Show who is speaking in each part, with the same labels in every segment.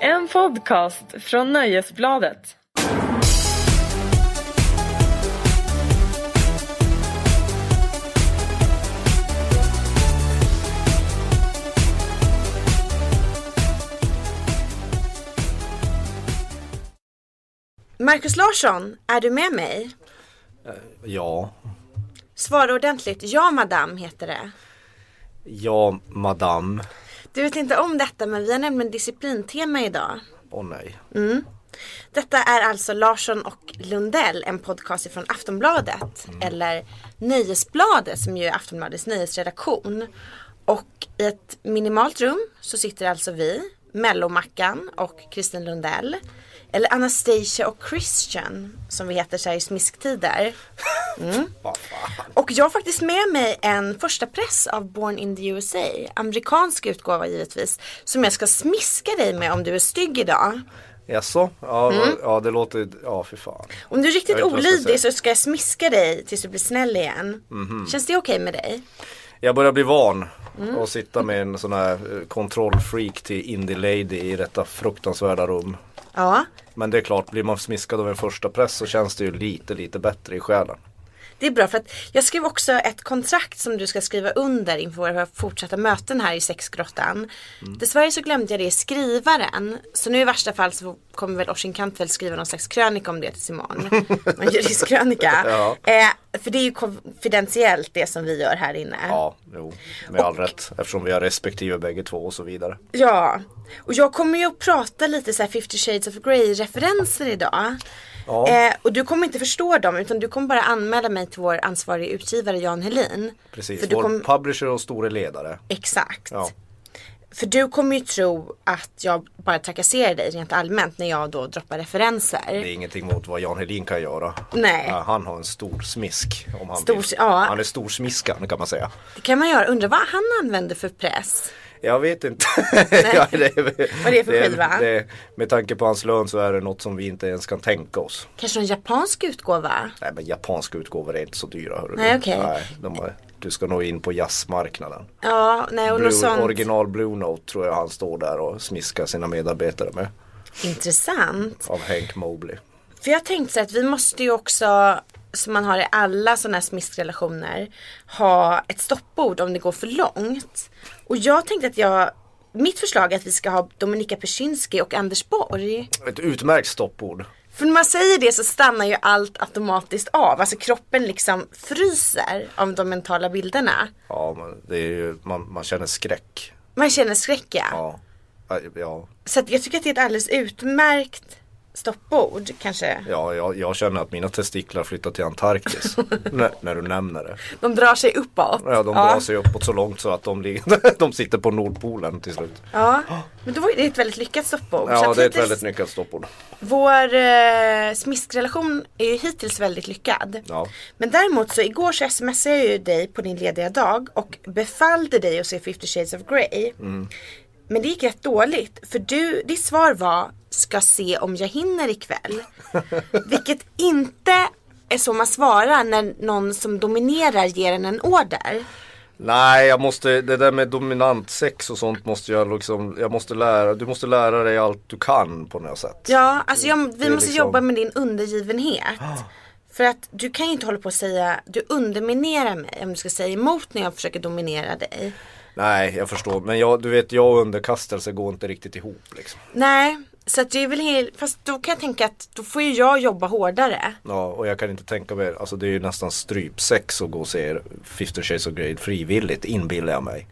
Speaker 1: En podcast från Nöjesbladet.
Speaker 2: Marcus Larsson, är du med mig?
Speaker 3: Ja,
Speaker 2: Svara ordentligt. Ja, madam heter det.
Speaker 3: ja madame.
Speaker 2: Du vet inte om detta, men vi har nämligen disciplintema idag.
Speaker 3: Åh nej.
Speaker 2: Detta är alltså Larsson och Lundell, en podcast från Aftonbladet. Eller Nöjesbladet, som ju är Aftonbladets nyhetsredaktion. Och i ett minimalt rum så sitter alltså vi, Mellomackan och Kristin Lundell. Eller Anastasia och Christian, som vi heter så här i smisktider.
Speaker 3: Vad fan.
Speaker 2: Och jag har faktiskt med mig en första press av Born in the USA, amerikansk utgåva givetvis, som jag ska smiska dig med om du är stygg idag.
Speaker 3: Jaså? Ja,
Speaker 2: Mm.
Speaker 3: ja, det låter ju... Ja, för fan.
Speaker 2: Om du är riktigt
Speaker 3: Jag vet inte vad jag ska
Speaker 2: olydig så
Speaker 3: säga. Mhm.
Speaker 2: ska jag smiska dig tills du blir snäll igen. Känns det okej med dig?
Speaker 3: Jag börjar bli van
Speaker 2: Mm.
Speaker 3: att sitta med en sån här eh, kontrollfreak till indie lady i detta fruktansvärda rum.
Speaker 2: Ja.
Speaker 3: Men det är klart, blir man smiskad av en första press så känns det ju lite, lite bättre i själen.
Speaker 2: Det är bra för att jag skrev också ett kontrakt som du ska skriva under inför våra fortsatta möten här i sexgrottan.
Speaker 3: Mm.
Speaker 2: Dessvärre så glömde jag det i skrivaren. Så nu i värsta fall så kommer väl Orsin Kantfeldt skriva någon slags krönika om det tills imorgon. Någon juristkrönika.
Speaker 3: Ja.
Speaker 2: eh, för det är ju konfidentiellt det som vi gör här inne.
Speaker 3: Ja, jo, med all
Speaker 2: Och-
Speaker 3: rätt. Eftersom vi har respektive bägge två och så vidare.
Speaker 2: Ja. Och jag kommer ju att prata lite så här 50 shades of Grey referenser idag.
Speaker 3: Ja.
Speaker 2: Eh, och du kommer inte förstå dem utan du kommer bara anmäla mig till vår ansvariga utgivare Jan Helin. För
Speaker 3: Precis,
Speaker 2: du
Speaker 3: vår
Speaker 2: kom...
Speaker 3: publisher och store ledare.
Speaker 2: Exakt.
Speaker 3: Ja.
Speaker 2: För du kommer ju tro att jag bara trakasserar dig rent allmänt när jag då droppar referenser.
Speaker 3: Det är ingenting mot vad Jan Helin kan göra.
Speaker 2: Nej.
Speaker 3: Ja, han har en stor smisk. Om han,
Speaker 2: Stor-
Speaker 3: vill.
Speaker 2: ja.
Speaker 3: han är storsmiskan kan man säga.
Speaker 2: Det kan man göra. Undrar vad han använder för press.
Speaker 3: Jag vet inte. ja, det, vad
Speaker 2: Vad det är för skiva?
Speaker 3: Det, med tanke på hans lön så är det något som vi inte ens kan tänka oss.
Speaker 2: Kanske en japansk utgåva?
Speaker 3: Nej men japanska utgåvor är inte så dyra. Hörru.
Speaker 2: Nej, okej.
Speaker 3: Nej, de är, du ska nog in på jazzmarknaden.
Speaker 2: Ja, nej och något
Speaker 3: Blue,
Speaker 2: sånt.
Speaker 3: original Blue Note tror jag han står där och smiskar sina medarbetare med.
Speaker 2: Intressant.
Speaker 3: Av Hank Mobley.
Speaker 2: För jag tänkte så här att vi måste ju också, som man har i alla sådana här smiskrelationer, ha ett stoppord om det går för långt. Och jag tänkte att jag, mitt förslag är att vi ska ha Dominika Persinski och Anders Borg.
Speaker 3: Ett utmärkt stoppord.
Speaker 2: För när man säger det så stannar ju allt automatiskt av. Alltså kroppen liksom fryser av de mentala bilderna.
Speaker 3: Ja, men det är ju, man, man känner skräck.
Speaker 2: Man känner skräck ja.
Speaker 3: Ja. Ja,
Speaker 2: Så att jag tycker att det är ett alldeles utmärkt stoppord kanske.
Speaker 3: ja jag, jag känner att mina testiklar flyttar till Antarktis. när, när du nämner det.
Speaker 2: De drar sig uppåt.
Speaker 3: Ja, de drar sig uppåt så långt så att de, ligger, de sitter på Nordpolen till slut.
Speaker 2: Ja. Men då var ju det ett väldigt lyckat stoppord. Så
Speaker 3: Ja,
Speaker 2: att
Speaker 3: det är ett
Speaker 2: hittills-
Speaker 3: väldigt nyckat stoppord.
Speaker 2: Vår eh, smiskrelation är ju hittills väldigt lyckad.
Speaker 3: Ja.
Speaker 2: Men däremot så igår så smsade jag ju dig på din lediga dag och befallde dig att se 50 shades of Grey. Men det gick rätt dåligt för du, ditt svar var ska se om jag hinner ikväll. Vilket inte är så man svarar när någon som dominerar ger en en order.
Speaker 3: Nej, jag måste, det där med dominant sex och sånt måste jag liksom, jag måste lära, du måste lära dig allt du kan på något sätt.
Speaker 2: Ja, alltså jag, vi
Speaker 3: är
Speaker 2: måste
Speaker 3: liksom- Ah.
Speaker 2: jobba med din undergivenhet. För att du kan ju inte hålla på och säga, du underminerar mig om du ska säga emot när jag försöker dominera dig.
Speaker 3: Nej, jag förstår. Men jag, du vet, jag och underkastelse går inte riktigt ihop liksom.
Speaker 2: Nej, så att det är väl helt, fast då kan jag tänka att då får ju jag jobba hårdare.
Speaker 3: Ja, och jag kan inte tänka mig, alltså det är ju nästan strypsex att gå och se 50 Shades of Grey frivilligt, inbillar jag mig.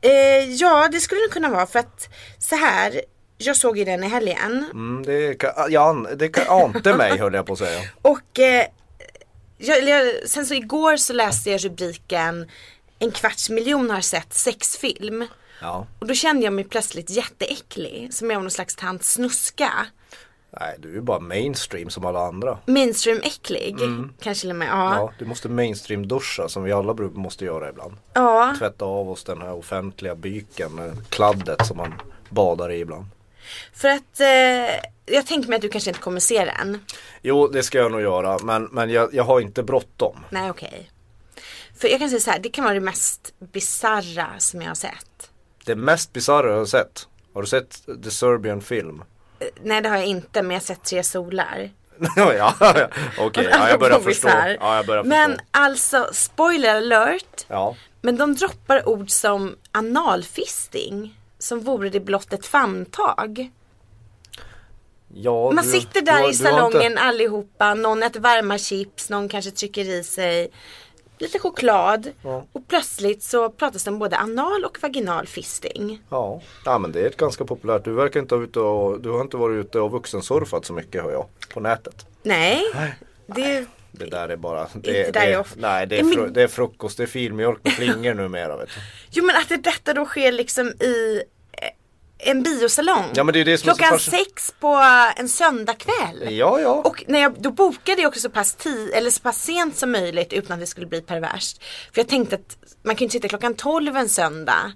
Speaker 2: Eh, ja, det skulle det kunna vara för att så här, jag såg ju den i helgen
Speaker 3: Mm, det, kan, jag, an- det kan, ante mig höll jag på att säga.
Speaker 2: och eh, jag, eller jag, sen så igår så läste jag rubriken en kvarts miljon har sett sexfilm.
Speaker 3: Ja.
Speaker 2: Och då kände jag mig plötsligt jätteäcklig, som jag var någon slags tant snuska.
Speaker 3: Nej, du är ju bara mainstream som alla andra.
Speaker 2: Mainstream-äcklig,
Speaker 3: Mm.
Speaker 2: kanske till och med. Ja.
Speaker 3: Ja, du måste mainstream-duscha som vi alla bru- måste göra ibland.
Speaker 2: ja.
Speaker 3: Tvätta av oss den här offentliga byken, eh, kladdet som man badar i ibland.
Speaker 2: För att eh, jag tänker mig att du kanske inte kommer se den.
Speaker 3: Jo, det ska jag nog göra, men, men jag, jag har inte bråttom.
Speaker 2: Nej, okej. För jag kan säga så här, det kan vara det mest bizarra som jag har sett.
Speaker 3: Det mest bisarra jag har sett, Har du sett The Serbian Film?
Speaker 2: Eh, Nej det har jag inte men jag har sett Tre solar.
Speaker 3: ja, ja, ja. okej, ja, jag börjar förstå. Ja, jag börjar
Speaker 2: men
Speaker 3: förstå.
Speaker 2: alltså spoiler alert.
Speaker 3: Ja.
Speaker 2: Men de droppar ord som analfisting. Som vore det blott ett famntag.
Speaker 3: Ja,
Speaker 2: Man
Speaker 3: du-
Speaker 2: sitter
Speaker 3: du
Speaker 2: där
Speaker 3: har- du har
Speaker 2: i
Speaker 3: inte-
Speaker 2: salongen allihopa, någon äter varma chips, någon kanske trycker i sig lite choklad. Och plötsligt så pratas det om både anal och vaginal fisting.
Speaker 3: Ja. ja, men det är ett ganska populärt. Du verkar inte ha ute och, du har inte varit ute och vuxensurfat så mycket hör jag. På nätet.
Speaker 2: Nej, det,
Speaker 3: Det där är bara, det,
Speaker 2: Inte där
Speaker 3: det,
Speaker 2: jag of-
Speaker 3: nej, det, är
Speaker 2: Men-
Speaker 3: fru, det är frukost, det är filmjölk med flingor numera. Vet du.
Speaker 2: jo men att det, detta då sker liksom i eh, en biosalong.
Speaker 3: Ja, men det är det som är så
Speaker 2: Klockan
Speaker 3: fascin-
Speaker 2: sex på en söndagkväll.
Speaker 3: Ja, ja.
Speaker 2: Och när jag, då bokade jag också så pass, ti, eller så pass sent som möjligt utan att det skulle bli perverst. För jag tänkte att man kan ju inte sitta klockan 12 en söndag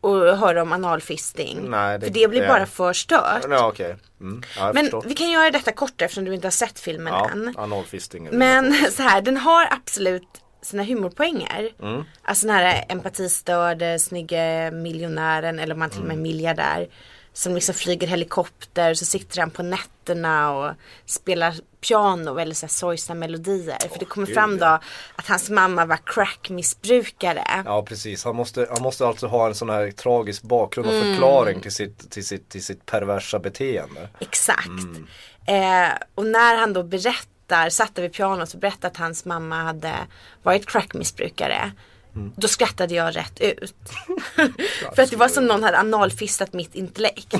Speaker 2: och höra om analfisting.
Speaker 3: Nej, det-
Speaker 2: för det blir
Speaker 3: det-
Speaker 2: bara för stört.
Speaker 3: Ja, okej. Mm, ja, jag
Speaker 2: Men
Speaker 3: förstår.
Speaker 2: vi kan göra detta kortare eftersom du inte har sett filmen
Speaker 3: Ja,
Speaker 2: än.
Speaker 3: analfisting. är det.
Speaker 2: Men så här, den har absolut sina humorpoänger.
Speaker 3: Mm.
Speaker 2: Alltså den här empatistörde, snygge miljonären eller om man till och med är
Speaker 3: Mm.
Speaker 2: miljardär. Som liksom flyger helikopter, så sitter han på nätterna och spelar piano eller så här sorgsna melodier. För det kommer
Speaker 3: gud,
Speaker 2: fram då
Speaker 3: ja.
Speaker 2: att hans mamma var crackmissbrukare.
Speaker 3: Ja precis, han måste, han måste alltså ha en sån här tragisk bakgrund
Speaker 2: Mm.
Speaker 3: och förklaring till sitt, till sitt, till sitt perversa beteende.
Speaker 2: Exakt.
Speaker 3: Mm.
Speaker 2: Eh, och när han då berättar, satt där vid pianot och berättade att hans mamma hade varit crackmissbrukare.
Speaker 3: Mm.
Speaker 2: Då skrattade jag rätt ut. För att det var som någon hade analfistat mitt intellekt.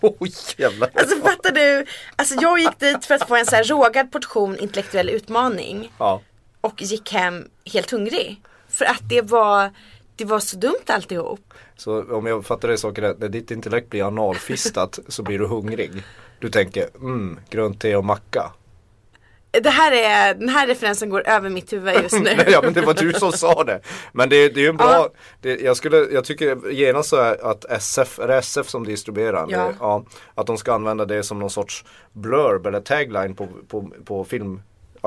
Speaker 3: Oj jävlar.
Speaker 2: Alltså fattar du? Alltså jag gick dit för att få en så här rågad portion intellektuell utmaning.
Speaker 3: Ja.
Speaker 2: Och gick hem helt hungrig. För att det var, det var så dumt alltihop.
Speaker 3: Så om jag fattar dig saker rätt, när ditt intellekt blir analfistat så blir du hungrig. Du tänker, mm, grönt te och macka.
Speaker 2: Det här är, den här referensen går över mitt huvud just nu.
Speaker 3: Nej, ja men det var du som sa det. Men det, det är ju en bra,
Speaker 2: Ja.
Speaker 3: det, jag, skulle, jag tycker genast så är att SF, är det SF som distribuerar,
Speaker 2: Ja.
Speaker 3: Det, ja, att de ska använda det som någon sorts blurb eller tagline på, på, på filmaffischerna.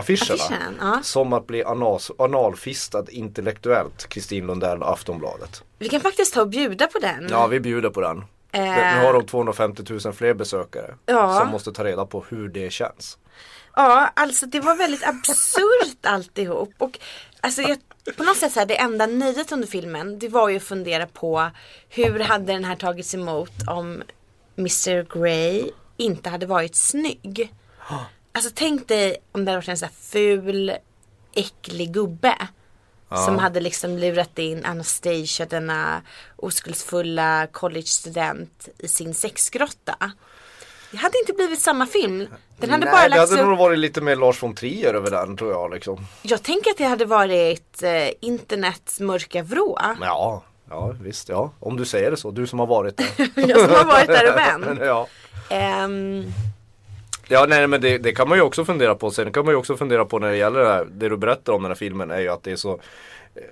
Speaker 2: Affischen, ja.
Speaker 3: Som att bli anas, analfistad intellektuellt, Kristin Lundell och Aftonbladet.
Speaker 2: Vi kan faktiskt ta och bjuda på den.
Speaker 3: Ja vi bjuder på den.
Speaker 2: Eh.
Speaker 3: Nu har de 250 000 fler besökare
Speaker 2: Ja.
Speaker 3: som måste ta reda på hur det känns.
Speaker 2: Ja, alltså det var väldigt absurt alltihop. Och alltså jag, på något sätt så här, det enda nöjet under filmen, det var ju att fundera på hur hade den här tagits emot om Mr Grey inte hade varit snygg. Alltså tänk dig om det hade varit en sån här ful, äcklig gubbe. Som hade liksom lurat in Anastasia, denna oskuldsfulla collegestudent i sin sexgrotta. Det hade inte blivit samma film. Den hade
Speaker 3: Nej,
Speaker 2: bara
Speaker 3: det
Speaker 2: lagts
Speaker 3: hade
Speaker 2: upp.
Speaker 3: nog varit lite mer Lars von Trier över den tror jag liksom.
Speaker 2: Jag tänker att det hade varit eh, internets mörka vrå.
Speaker 3: Ja, ja visst ja. Om du säger det så, du som har varit där.
Speaker 2: Jag som har varit där och vänt.
Speaker 3: ja.
Speaker 2: Ehm,
Speaker 3: ja, nej men det, det kan man ju också fundera på. Sen kan man ju också fundera på när det gäller det, här, det du berättar om den här filmen är ju att det är så eh,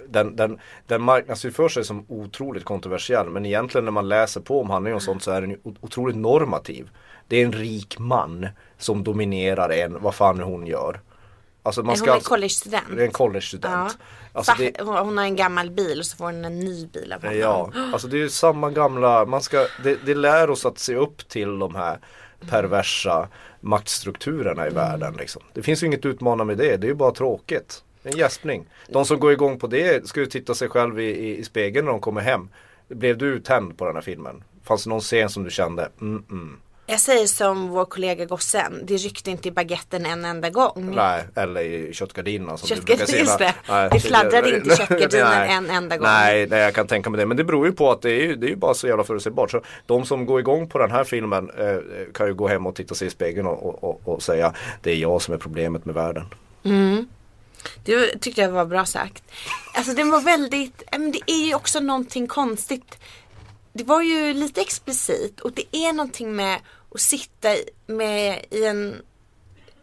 Speaker 3: den, den, den marknadsför sig som otroligt kontroversiell men egentligen när man läser på om handlingen och sånt så är den ju o- otroligt normativ. Det är en rik man som dominerar en, vad fan hon gör. Alltså man
Speaker 2: hon
Speaker 3: ska
Speaker 2: är
Speaker 3: alltså-
Speaker 2: collegestudent.
Speaker 3: Det är en collegestudent. Alltså
Speaker 2: Fa-
Speaker 3: det,
Speaker 2: hon, hon har en gammal bil och så får hon en ny bil av honom.
Speaker 3: Ja, alltså det är ju samma gamla, man ska, det, det lär oss att se upp till de här perversa maktstrukturerna i världen. Liksom. Det finns ju inget utmanande med det, det är ju bara tråkigt. En gäspning. De som går igång på det ska ju titta sig själv i, i, i spegeln när de kommer hem. Blev du uttänd på den här filmen? Fanns det någon scen som du kände, mm, mm.
Speaker 2: Jag säger som vår kollega gossen, det ryckte inte i baguetten en enda gång.
Speaker 3: Nej, eller i köttgardinerna som
Speaker 2: Köttgardin-
Speaker 3: du brukar säga.
Speaker 2: just det.
Speaker 3: Nej.
Speaker 2: Det fladdrade inte i köttgardinen
Speaker 3: Nej.
Speaker 2: en enda gång.
Speaker 3: Nej, nej, jag kan tänka mig det. Men det beror ju på att det är ju, det är ju bara så jävla förutsägbart. Så de som går igång på den här filmen eh, kan ju gå hem och titta sig i spegeln och, och, och, och säga det är jag som är problemet med världen.
Speaker 2: Det tyckte jag var bra sagt. Alltså den var väldigt, ja, men det är ju också någonting konstigt. Det var ju lite explicit och det är någonting med att sitta i- med i en,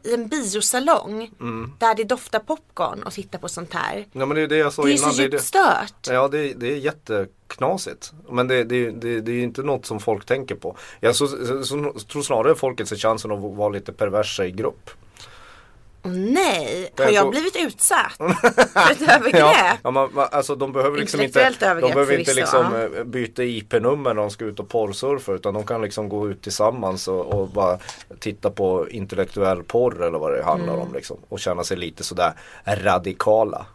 Speaker 2: i en biosalong
Speaker 3: Mm.
Speaker 2: där det doftar popcorn och titta på sånt här.
Speaker 3: Ja, men det är ju det jag sa
Speaker 2: Det är
Speaker 3: innan.
Speaker 2: så
Speaker 3: är
Speaker 2: djupt stört.
Speaker 3: Ja det, är- det är jätteknasigt. Men det, det, det, det är ju inte något som folk tänker på. Jag så, så, så, tror snarare folket ser chansen att vara lite perversa i grupp.
Speaker 2: Åh nej, har
Speaker 3: Jag
Speaker 2: jag
Speaker 3: går-
Speaker 2: blivit utsatt för ett övergrepp?
Speaker 3: Ja, ja, man, man, alltså de behöver liksom inte,
Speaker 2: Intellektuellt
Speaker 3: de
Speaker 2: övergrepp
Speaker 3: behöver inte
Speaker 2: förvisso,
Speaker 3: liksom eh, byta IP-nummer när de ska ut och porrsurfa utan de kan liksom gå ut tillsammans och, och bara titta på intellektuell porr eller vad det handlar
Speaker 2: Mm.
Speaker 3: om liksom. Och känna sig lite sådär radikala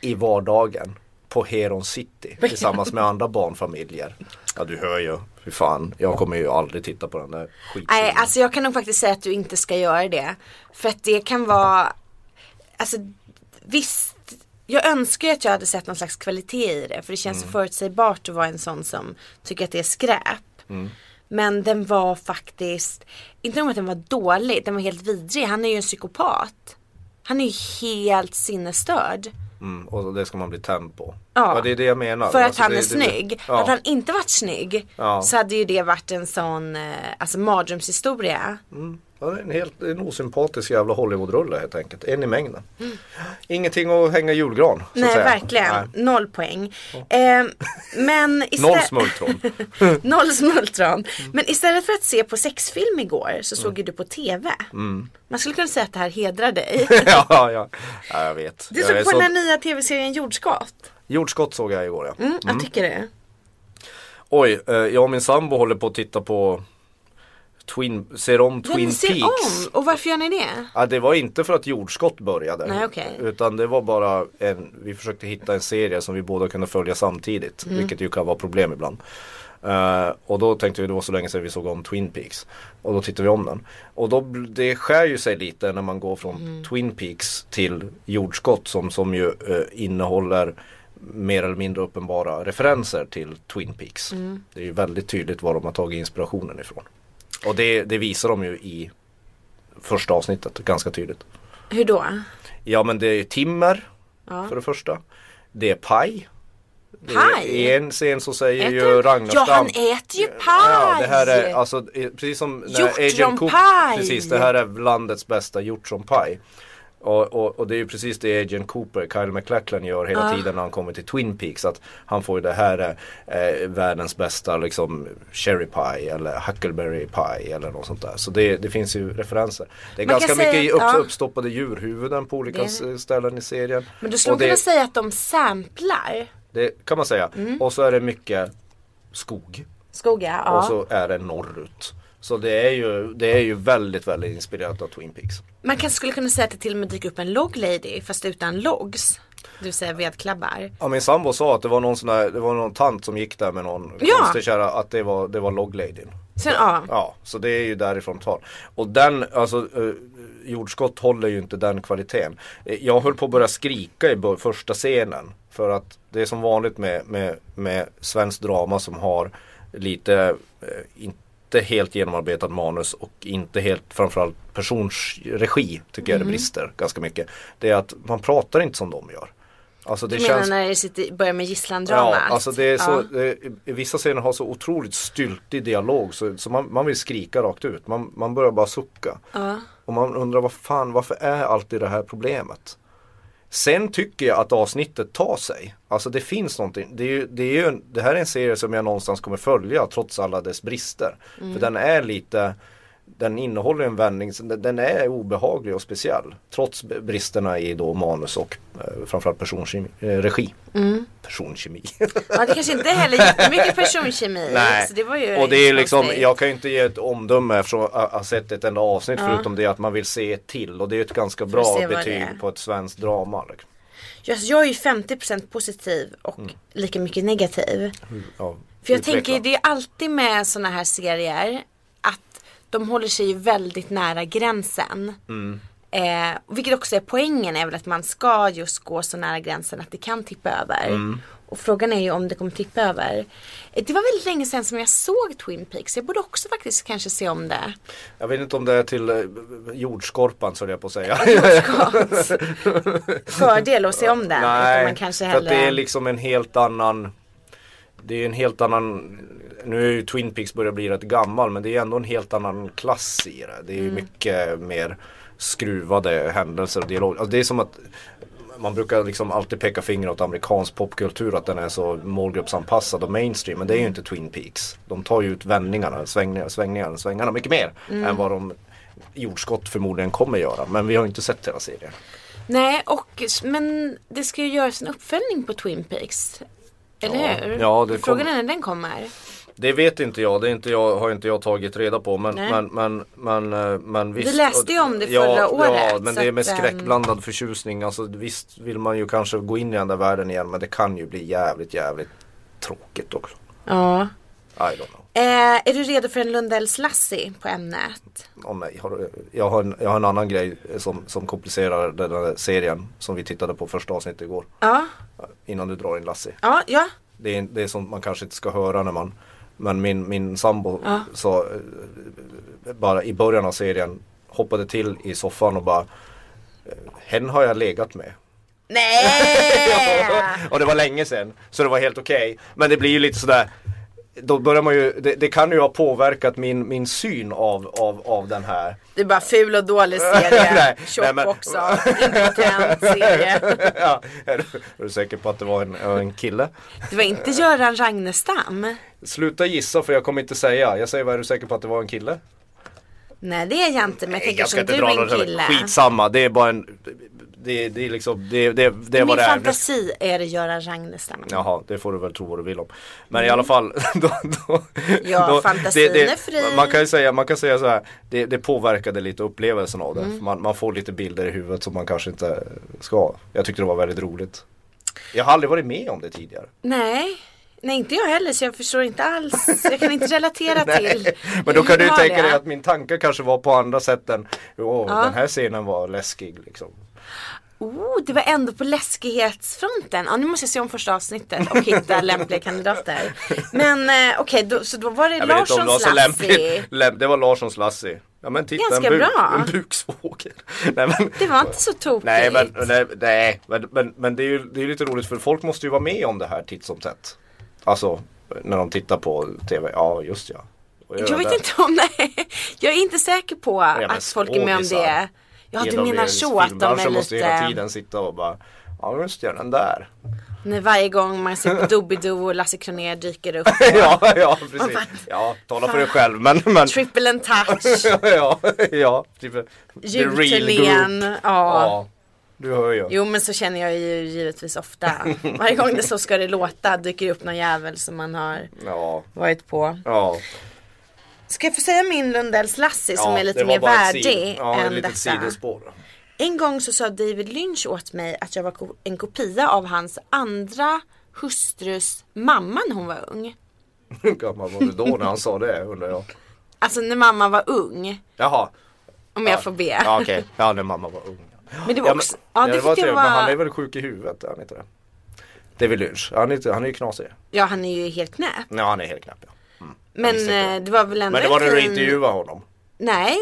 Speaker 3: i vardagen på Heron City tillsammans med andra barnfamiljer. Ja du hör ju, fy fan, jag kommer ju aldrig titta på den där skitfilmen.
Speaker 2: Nej, alltså jag kan nog faktiskt säga att du inte ska göra det. För att det kan vara, alltså visst, jag önskar ju att jag hade sett någon slags kvalitet i det. För det känns
Speaker 3: Mm.
Speaker 2: så förutsägbart att vara en sån som tycker att det är skräp.
Speaker 3: Mm.
Speaker 2: Men den var faktiskt, inte nog med att den var dålig, den var helt vidrig. Han är ju en psykopat. Han är ju helt sinnesstörd.
Speaker 3: mm, och det ska man bli tänd på.
Speaker 2: Ja.
Speaker 3: Ja, det är det jag menar.
Speaker 2: För att
Speaker 3: Alltså,
Speaker 2: han
Speaker 3: det-
Speaker 2: är
Speaker 3: det-
Speaker 2: snygg.
Speaker 3: Ja.
Speaker 2: Hade han inte varit snygg
Speaker 3: Ja.
Speaker 2: så hade ju det varit en sån eh, alltså, mardrömshistoria.
Speaker 3: Ja, det är en helt en osympatisk jävla Hollywoodrulle helt enkelt. En i mängden. Ingenting att hänga julgran. Så att
Speaker 2: Mm. Nej
Speaker 3: säga.
Speaker 2: verkligen,
Speaker 3: Nej.
Speaker 2: noll poäng. Eh, men istä-
Speaker 3: Noll Mm. smultron.
Speaker 2: noll smultron. Men istället för att se på sexfilm igår så
Speaker 3: Mm.
Speaker 2: såg ju du på TV. Man skulle kunna säga att det här hedrar dig.
Speaker 3: ja, ja. ja, jag vet.
Speaker 2: Du
Speaker 3: Jag
Speaker 2: såg
Speaker 3: är
Speaker 2: på
Speaker 3: så-
Speaker 2: den här nya TV-serien Jordskott.
Speaker 3: Jordskott såg jag igår ja.
Speaker 2: Mm, Jag tycker det.
Speaker 3: Oj, eh, jag och min sambo håller på att titta på Twin, ser om
Speaker 2: Ja,
Speaker 3: Twin
Speaker 2: ni ser
Speaker 3: Peaks.
Speaker 2: om. Och varför gör ni det?
Speaker 3: Ja, det var inte för att jordskott började.
Speaker 2: Nej, okej.
Speaker 3: Utan det var bara en, vi försökte hitta en serie som vi båda kunde följa samtidigt.
Speaker 2: Mm.
Speaker 3: Vilket ju kan vara problem ibland. Eh, och då tänkte vi, det var så länge sedan vi såg om Twin Peaks. Och då tittade vi om den. Och då, bl- det skär ju sig lite när man går från
Speaker 2: Mm.
Speaker 3: Twin Peaks till jordskott som, som ju eh, innehåller mer eller mindre uppenbara referenser till Twin Peaks.
Speaker 2: Mm.
Speaker 3: Det är ju väldigt tydligt var de har tagit inspirationen ifrån. Och det, det visar de ju i första avsnittet ganska tydligt.
Speaker 2: Hur då?
Speaker 3: Ja men det är timmer
Speaker 2: Ja.
Speaker 3: för det första. Det är paj. Det är
Speaker 2: Paj?
Speaker 3: I en scen så säger
Speaker 2: Äter
Speaker 3: ju
Speaker 2: han- Ja
Speaker 3: Ragnarstam.
Speaker 2: han äter ju paj!
Speaker 3: Ja, det här är alltså eh, precis som när Agent Cook,
Speaker 2: Hjortronpaj!
Speaker 3: precis det här är landets bästa hjortronpaj. Och, och, och det är ju precis det Agent Cooper, Kyle MacLachlan gör hela tiden när han kommer till Twin Peaks. Att han får ju det här eh, världens bästa liksom Cherry Pie eller Huckleberry Pie eller något sånt där. Så det, det finns ju referenser. Det är
Speaker 2: Man kan
Speaker 3: ganska mycket
Speaker 2: säga
Speaker 3: i
Speaker 2: att-
Speaker 3: upp,
Speaker 2: ja.
Speaker 3: uppstoppade djurhuvuden på olika
Speaker 2: Det-
Speaker 3: s- ställen i serien.
Speaker 2: Men du skulle
Speaker 3: Och det-
Speaker 2: kunna säga att de samplar
Speaker 3: Det kan man säga.
Speaker 2: Mm.
Speaker 3: Och så är det mycket skog.
Speaker 2: Skoga. Ja.
Speaker 3: Och så är det norrut. Så det är ju, det är ju väldigt, väldigt inspirerat av Twin Peaks.
Speaker 2: Man kanske skulle kunna säga att det till och med dyker upp en log lady fast utan logs. Du säger vedklabbar.
Speaker 3: Ja, min sambo sa att det var någon sån där, det var någon tant som gick där med någon
Speaker 2: Ja.
Speaker 3: konstig kärra, att det var, det var logladyn.
Speaker 2: Sen, ja.
Speaker 3: Ja, så det är ju därifrån tal. Och den, alltså eh, jordskott håller ju inte den kvaliteten. Eh, Jag höll på att börja skrika i bör- första scenen. För att det är som vanligt med, med, med svensk drama som har lite, eh, inte helt genomarbetat manus och inte helt framförallt personsregi tycker
Speaker 2: Mm.
Speaker 3: jag det brister ganska mycket. Det är att man pratar inte som de gör. Alltså det
Speaker 2: du menar när det sitter, börjar med gisslandramat?
Speaker 3: Ja, alltså det är så,
Speaker 2: Ja.
Speaker 3: eh, i vissa scener har så otroligt styltig dialog så, så man, man vill skrika rakt ut. Man, man börjar bara sucka. Och man undrar vad fan, varför är alltid det här problemet? Sen tycker jag att avsnittet tar sig. Alltså det finns någonting. Det, är ju, det, är ju, en- det här är en serie som jag någonstans kommer följa trots alla dess brister. För den är lite den innehåller en vändning, så den den är obehaglig och speciell. Trots b- bristerna i då manus och eh, framförallt personkemi, eh, regi. Personkemi.
Speaker 2: ja, det kanske inte heller är jättemycket personkemi. Så det var ju
Speaker 3: och det är liksom,
Speaker 2: konstigt.
Speaker 3: jag kan ju inte ge ett omdöme eftersom jag har sett ett enda avsnitt förutom det att man vill se ett till och det är ju ett ganska
Speaker 2: se
Speaker 3: bra
Speaker 2: vad det
Speaker 3: betyg
Speaker 2: är.
Speaker 3: på ett svenskt drama. Liksom.
Speaker 2: jag, jag är ju 50% positiv och
Speaker 3: Mm.
Speaker 2: lika mycket negativ.
Speaker 3: Ja,
Speaker 2: För jag
Speaker 3: utveckla.
Speaker 2: tänker det är alltid med sådana här serier att de håller sig ju väldigt nära gränsen.
Speaker 3: Mm.
Speaker 2: Eh, vilket också är poängen är väl att man ska just gå så nära gränsen att det kan tippa över.
Speaker 3: Mm.
Speaker 2: Och frågan är ju om det kommer tippa över. Eh, Det var väldigt länge sedan som jag såg Twin Peaks. Jag borde också faktiskt kanske se om det.
Speaker 3: Jag vet inte om det är till eh, jordskorpan så höll jag på att säga.
Speaker 2: Fördel att se om det. utan
Speaker 3: Nej,
Speaker 2: man kanske
Speaker 3: för att det
Speaker 2: hellre...
Speaker 3: är liksom en helt annan Det är en helt annan Nu är ju Twin Peaks börjar bli rätt gammal men det är ändå en helt annan klass i det. Det är ju
Speaker 2: Mm.
Speaker 3: mycket mer skruvade händelser och dialog. Alltså det är som att man brukar liksom alltid peka finger åt amerikansk popkultur att den är så målgruppsanpassad och mainstream. Men det är
Speaker 2: Mm. Mm.
Speaker 3: ju inte Twin Peaks. De tar ju ut vändningarna, svängningar, svängningar, svängarna mycket mer än vad de jordskott förmodligen kommer göra. Men vi har inte sett hela serien.
Speaker 2: Nej, och, men det ska ju göras en uppföljning på Twin Peaks. Eller
Speaker 3: Ja.
Speaker 2: hur?
Speaker 3: Ja, det
Speaker 2: Frågan
Speaker 3: kommer.
Speaker 2: är när den kommer.
Speaker 3: Det vet inte jag, det är inte jag, har inte jag tagit reda på. Men,
Speaker 2: Nej.
Speaker 3: men, men, men, eh, men visst.
Speaker 2: läste ju om det
Speaker 3: ja,
Speaker 2: förra
Speaker 3: Ja,
Speaker 2: året,
Speaker 3: men
Speaker 2: så
Speaker 3: det är
Speaker 2: att,
Speaker 3: med
Speaker 2: ehm,
Speaker 3: skräckblandad förtjusning. Alltså, visst vill man ju kanske gå in i den där världen igen. Men det kan ju bli jävligt, jävligt tråkigt också.
Speaker 2: Ja.
Speaker 3: I don't know.
Speaker 2: Eh, är du redo för en Lundells Lassie på ämnet?
Speaker 3: Åh, nej, har du- jag, har en, jag har en annan grej eh, som, som komplicerar den här serien som vi tittade på första avsnittet igår.
Speaker 2: Ja,
Speaker 3: Innan du drar in Lassie.
Speaker 2: ja, ja.
Speaker 3: Det är, det är sånt man kanske inte ska höra när man Men min, min sambo
Speaker 2: Ja.
Speaker 3: sa eh, bara i början av serien hoppade till i soffan och bara eh, Hen har jag legat med.
Speaker 2: Nej!
Speaker 3: och det var länge sedan så det var helt okej. Men det blir ju lite sådär då börjar man ju, det, det kan ju ha påverkat min, min syn av, av, av den här.
Speaker 2: Det är bara ful och dålig
Speaker 3: Nej,
Speaker 2: serie.
Speaker 3: nej,
Speaker 2: Tjock
Speaker 3: men-
Speaker 2: också. Impotent serie.
Speaker 3: ja, är, du, är du säker på att det var en, en kille?
Speaker 2: Det var inte Göran Ragnestam.
Speaker 3: Sluta gissa för jag kommer inte säga. Jag säger, vad är du säker på att det var en kille?
Speaker 2: Nej det är jag inte men jag tänker
Speaker 3: jag ska
Speaker 2: som
Speaker 3: inte
Speaker 2: du
Speaker 3: dra
Speaker 2: är en
Speaker 3: något
Speaker 2: kille.
Speaker 3: Skitsamma, det är bara en Det, det är liksom, det, det, det är
Speaker 2: I
Speaker 3: vad
Speaker 2: min
Speaker 3: det är.
Speaker 2: fantasi är det Göran Ragnestam.
Speaker 3: Jaha, det får du väl tro vad du vill om. Men i alla fall. Då, då,
Speaker 2: Mm. Ja, fantasin är fri.
Speaker 3: Man kan ju säga, man kan säga så här. Det, det påverkade lite upplevelsen av det.
Speaker 2: Mm.
Speaker 3: För Man, man får lite bilder i huvudet som man kanske inte ska. Jag tyckte det var väldigt roligt. Jag har aldrig varit med om det tidigare.
Speaker 2: Nej. Nej inte jag heller så jag förstår inte alls. Jag kan inte relatera till.
Speaker 3: Men då kan du ju
Speaker 2: hur
Speaker 3: tänka
Speaker 2: har
Speaker 3: dig
Speaker 2: jag?
Speaker 3: att min tanke kanske var på andra sätt än Åh,
Speaker 2: Ja.
Speaker 3: den här scenen var läskig liksom.
Speaker 2: Oh, det var ändå på läskighetsfronten. Ja, nu måste jag se om första avsnittet och hitta lämpliga kandidater. Men eh, okej, då, så då var det
Speaker 3: Jag vet inte om det var
Speaker 2: Larssons
Speaker 3: så
Speaker 2: Lassie.
Speaker 3: lämpligt. Läm- Det var Larssons Lassie. Ja men titta
Speaker 2: Ganska
Speaker 3: en, buk,
Speaker 2: bra.
Speaker 3: en buksvåger. Nej men,
Speaker 2: Det var inte så tokigt.
Speaker 3: nej, men, nej, nej, men, men, men det är ju det är ju lite roligt för folk måste ju vara med om det här titt som tätt. Alltså när de tittar på tv. Ja just ja. Och gör
Speaker 2: Jag
Speaker 3: det.
Speaker 2: vet inte om nej. Jag är inte säker på
Speaker 3: men
Speaker 2: att folk är med om
Speaker 3: skådisar.
Speaker 2: det. Ja, du
Speaker 3: Hela
Speaker 2: menar
Speaker 3: regeringens
Speaker 2: så att de
Speaker 3: filmbransch
Speaker 2: är
Speaker 3: måste ju hela
Speaker 2: lite...
Speaker 3: tiden sitta och bara Ja just ja den där.
Speaker 2: eh, När varje gång man ser på Doobidoo och Lasse Kronér dyker upp.
Speaker 3: ja ja precis. Ja tala för dig själv men. men
Speaker 2: Triple and touch,
Speaker 3: ja ja. Typ, the real group.
Speaker 2: julturnén. ja.
Speaker 3: Ja. Du hör ju.
Speaker 2: Jo men så känner jag ju givetvis ofta. Varje gång det så ska det låta dyker upp någon jävel som man har
Speaker 3: Ja.
Speaker 2: varit på.
Speaker 3: Ja.
Speaker 2: Ska jag få säga min Lundells Lassie som
Speaker 3: Ja,
Speaker 2: är lite
Speaker 3: det var
Speaker 2: mer
Speaker 3: bara ett
Speaker 2: värdig
Speaker 3: sid- ja, ett
Speaker 2: än
Speaker 3: litet
Speaker 2: detta.
Speaker 3: sidospår.
Speaker 2: En gång så sa David Lynch åt mig att jag var ko- en kopia av hans andra hustrus mamma när hon var ung.
Speaker 3: Hur gammal var du då när han sa det undrar jag.
Speaker 2: Alltså när mamma var ung.
Speaker 3: Jaha.
Speaker 2: Om jag får be.
Speaker 3: Ja okej. Ja när mamma var ung.
Speaker 2: Men det var
Speaker 3: Ja, men,
Speaker 2: också, ja, det,
Speaker 3: det var
Speaker 2: fick jag
Speaker 3: trevligt, men han
Speaker 2: vara,
Speaker 3: är väl sjuk i huvudet, är han inte det? Det är väl Lynch. Han är, inte, han är ju knasig.
Speaker 2: ja han är ju helt knäpp.
Speaker 3: Nej han är helt knäpp ja.
Speaker 2: Men
Speaker 3: visste inte.
Speaker 2: eh, det var väl ändå
Speaker 3: Men det var
Speaker 2: en
Speaker 3: när du
Speaker 2: fin-
Speaker 3: intervjuade honom?
Speaker 2: Nej,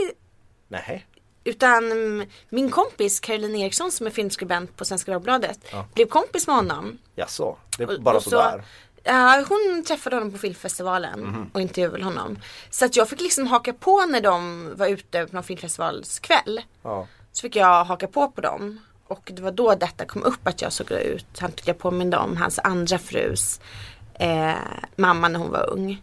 Speaker 3: Nej.
Speaker 2: Utan mm, min kompis Caroline Eriksson som är filmskribent på Svenska Dagbladet blev kompis med honom.
Speaker 3: Jaså? Det är bara
Speaker 2: och så-
Speaker 3: sådär? Mhm.
Speaker 2: Ja, hon träffade honom på filmfestivalen och intervjuade honom. Så att jag fick liksom haka på när de var ute på någon filmfestivalskväll.
Speaker 3: Ja.
Speaker 2: Så fick jag haka på på dem. Och det var då detta kom upp att jag såg ut, han tyckte jag påminde om hans andra frus eh, mamma när hon var ung.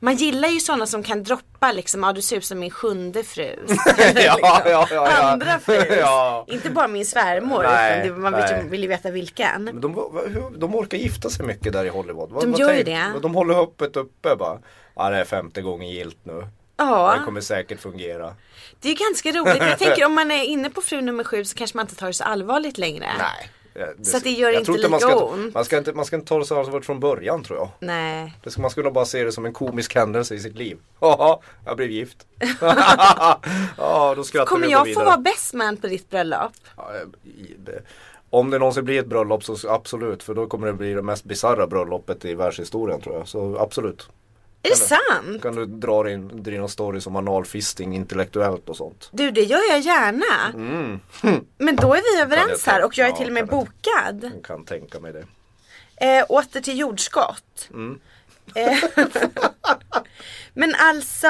Speaker 2: Man gillar ju sådana som kan droppa liksom, ja du ser ut som min sjunde frus.
Speaker 3: ja, ja, ja, ja.
Speaker 2: Andra frus.
Speaker 3: ja.
Speaker 2: Inte bara min svärmor
Speaker 3: Nej,
Speaker 2: utan det, man vill,
Speaker 3: nej.
Speaker 2: ju- vill ju veta vilken.
Speaker 3: Men de, var- hur- de orkar gifta sig mycket där i Hollywood. Vad-
Speaker 2: De
Speaker 3: vad
Speaker 2: gör ju
Speaker 3: tänk-
Speaker 2: det.
Speaker 3: De håller öppet uppe bara. Ja det är femte gången gilt nu. Det
Speaker 2: Ja,
Speaker 3: kommer säkert fungera.
Speaker 2: det är ganska roligt. Jag tänker om man är inne på fru nummer sju så kanske man inte tar det så allvarligt längre.
Speaker 3: Nej. Eh,
Speaker 2: Så att det gör
Speaker 3: jag
Speaker 2: inte
Speaker 3: tror man
Speaker 2: lika
Speaker 3: ska,
Speaker 2: ont.
Speaker 3: Man ska, inte, man ska inte ta det så allvarligt från början tror jag.
Speaker 2: Nej.
Speaker 3: Det ska, man skulle bara se det som en komisk händelse i sitt liv. Haha, jag blev gift. ja, då skrattar
Speaker 2: Kommer
Speaker 3: vi och går
Speaker 2: jag få
Speaker 3: vidare.
Speaker 2: vara best man på ditt bröllop?
Speaker 3: Ja, i- det- Om det någonsin blir ett bröllop så absolut, för då kommer det bli det mest bisarra bröllopet i världshistorien tror jag. Så absolut.
Speaker 2: Är det sant?
Speaker 3: Kan du dra din, din story som analfisting intellektuellt och sånt.
Speaker 2: Du det gör jag gärna.
Speaker 3: Mm.
Speaker 2: Men då är vi överens
Speaker 3: ta-
Speaker 2: här och jag är
Speaker 3: ja,
Speaker 2: till och med
Speaker 3: kan jag
Speaker 2: bokad.
Speaker 3: Jag kan tänka mig det.
Speaker 2: Eh, åter till jordskott.
Speaker 3: Mm.
Speaker 2: Eh, men alltså,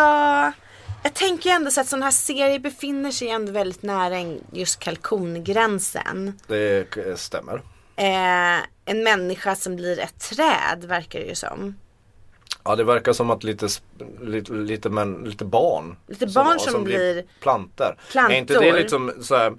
Speaker 2: jag tänker ju ändå så att sådana här serier befinner sig ändå väldigt nära en- just kalkongränsen.
Speaker 3: Det eh, stämmer.
Speaker 2: Eh, en människa som blir ett träd verkar det ju som.
Speaker 3: Ja det verkar som att lite, sp- lite, lite, men, lite barn
Speaker 2: Lite barn som blir
Speaker 3: planter.
Speaker 2: plantor.
Speaker 3: Är inte det liksom så här,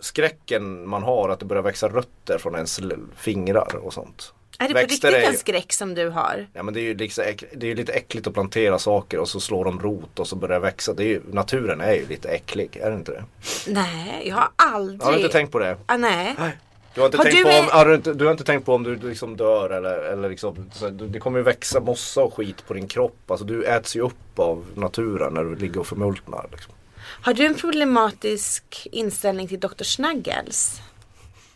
Speaker 3: skräcken man har att det börjar växa rötter från ens l- fingrar och sånt?
Speaker 2: Är det på
Speaker 3: Växter
Speaker 2: riktigt
Speaker 3: är
Speaker 2: en
Speaker 3: ju-
Speaker 2: skräck som du har?
Speaker 3: Ja men det är ju liksom, äck- det är ju lite äckligt att plantera saker och så slår de rot och så börjar det växa. Det är ju, naturen är ju lite äcklig, är det inte det?
Speaker 2: Nej, jag har aldrig.
Speaker 3: Jag har inte tänkt på det.
Speaker 2: ah, nej.
Speaker 3: Du har inte,
Speaker 2: Har
Speaker 3: tänkt,
Speaker 2: du
Speaker 3: på
Speaker 2: en-
Speaker 3: om, har du inte, du har inte tänkt på om du liksom dör eller, eller liksom, så här, du- det kommer ju växa mossa och skit på din kropp. Alltså du äts ju upp av naturen när du ligger och förmultnar. Liksom.
Speaker 2: Har du en problematisk inställning till Dr. Snuggles?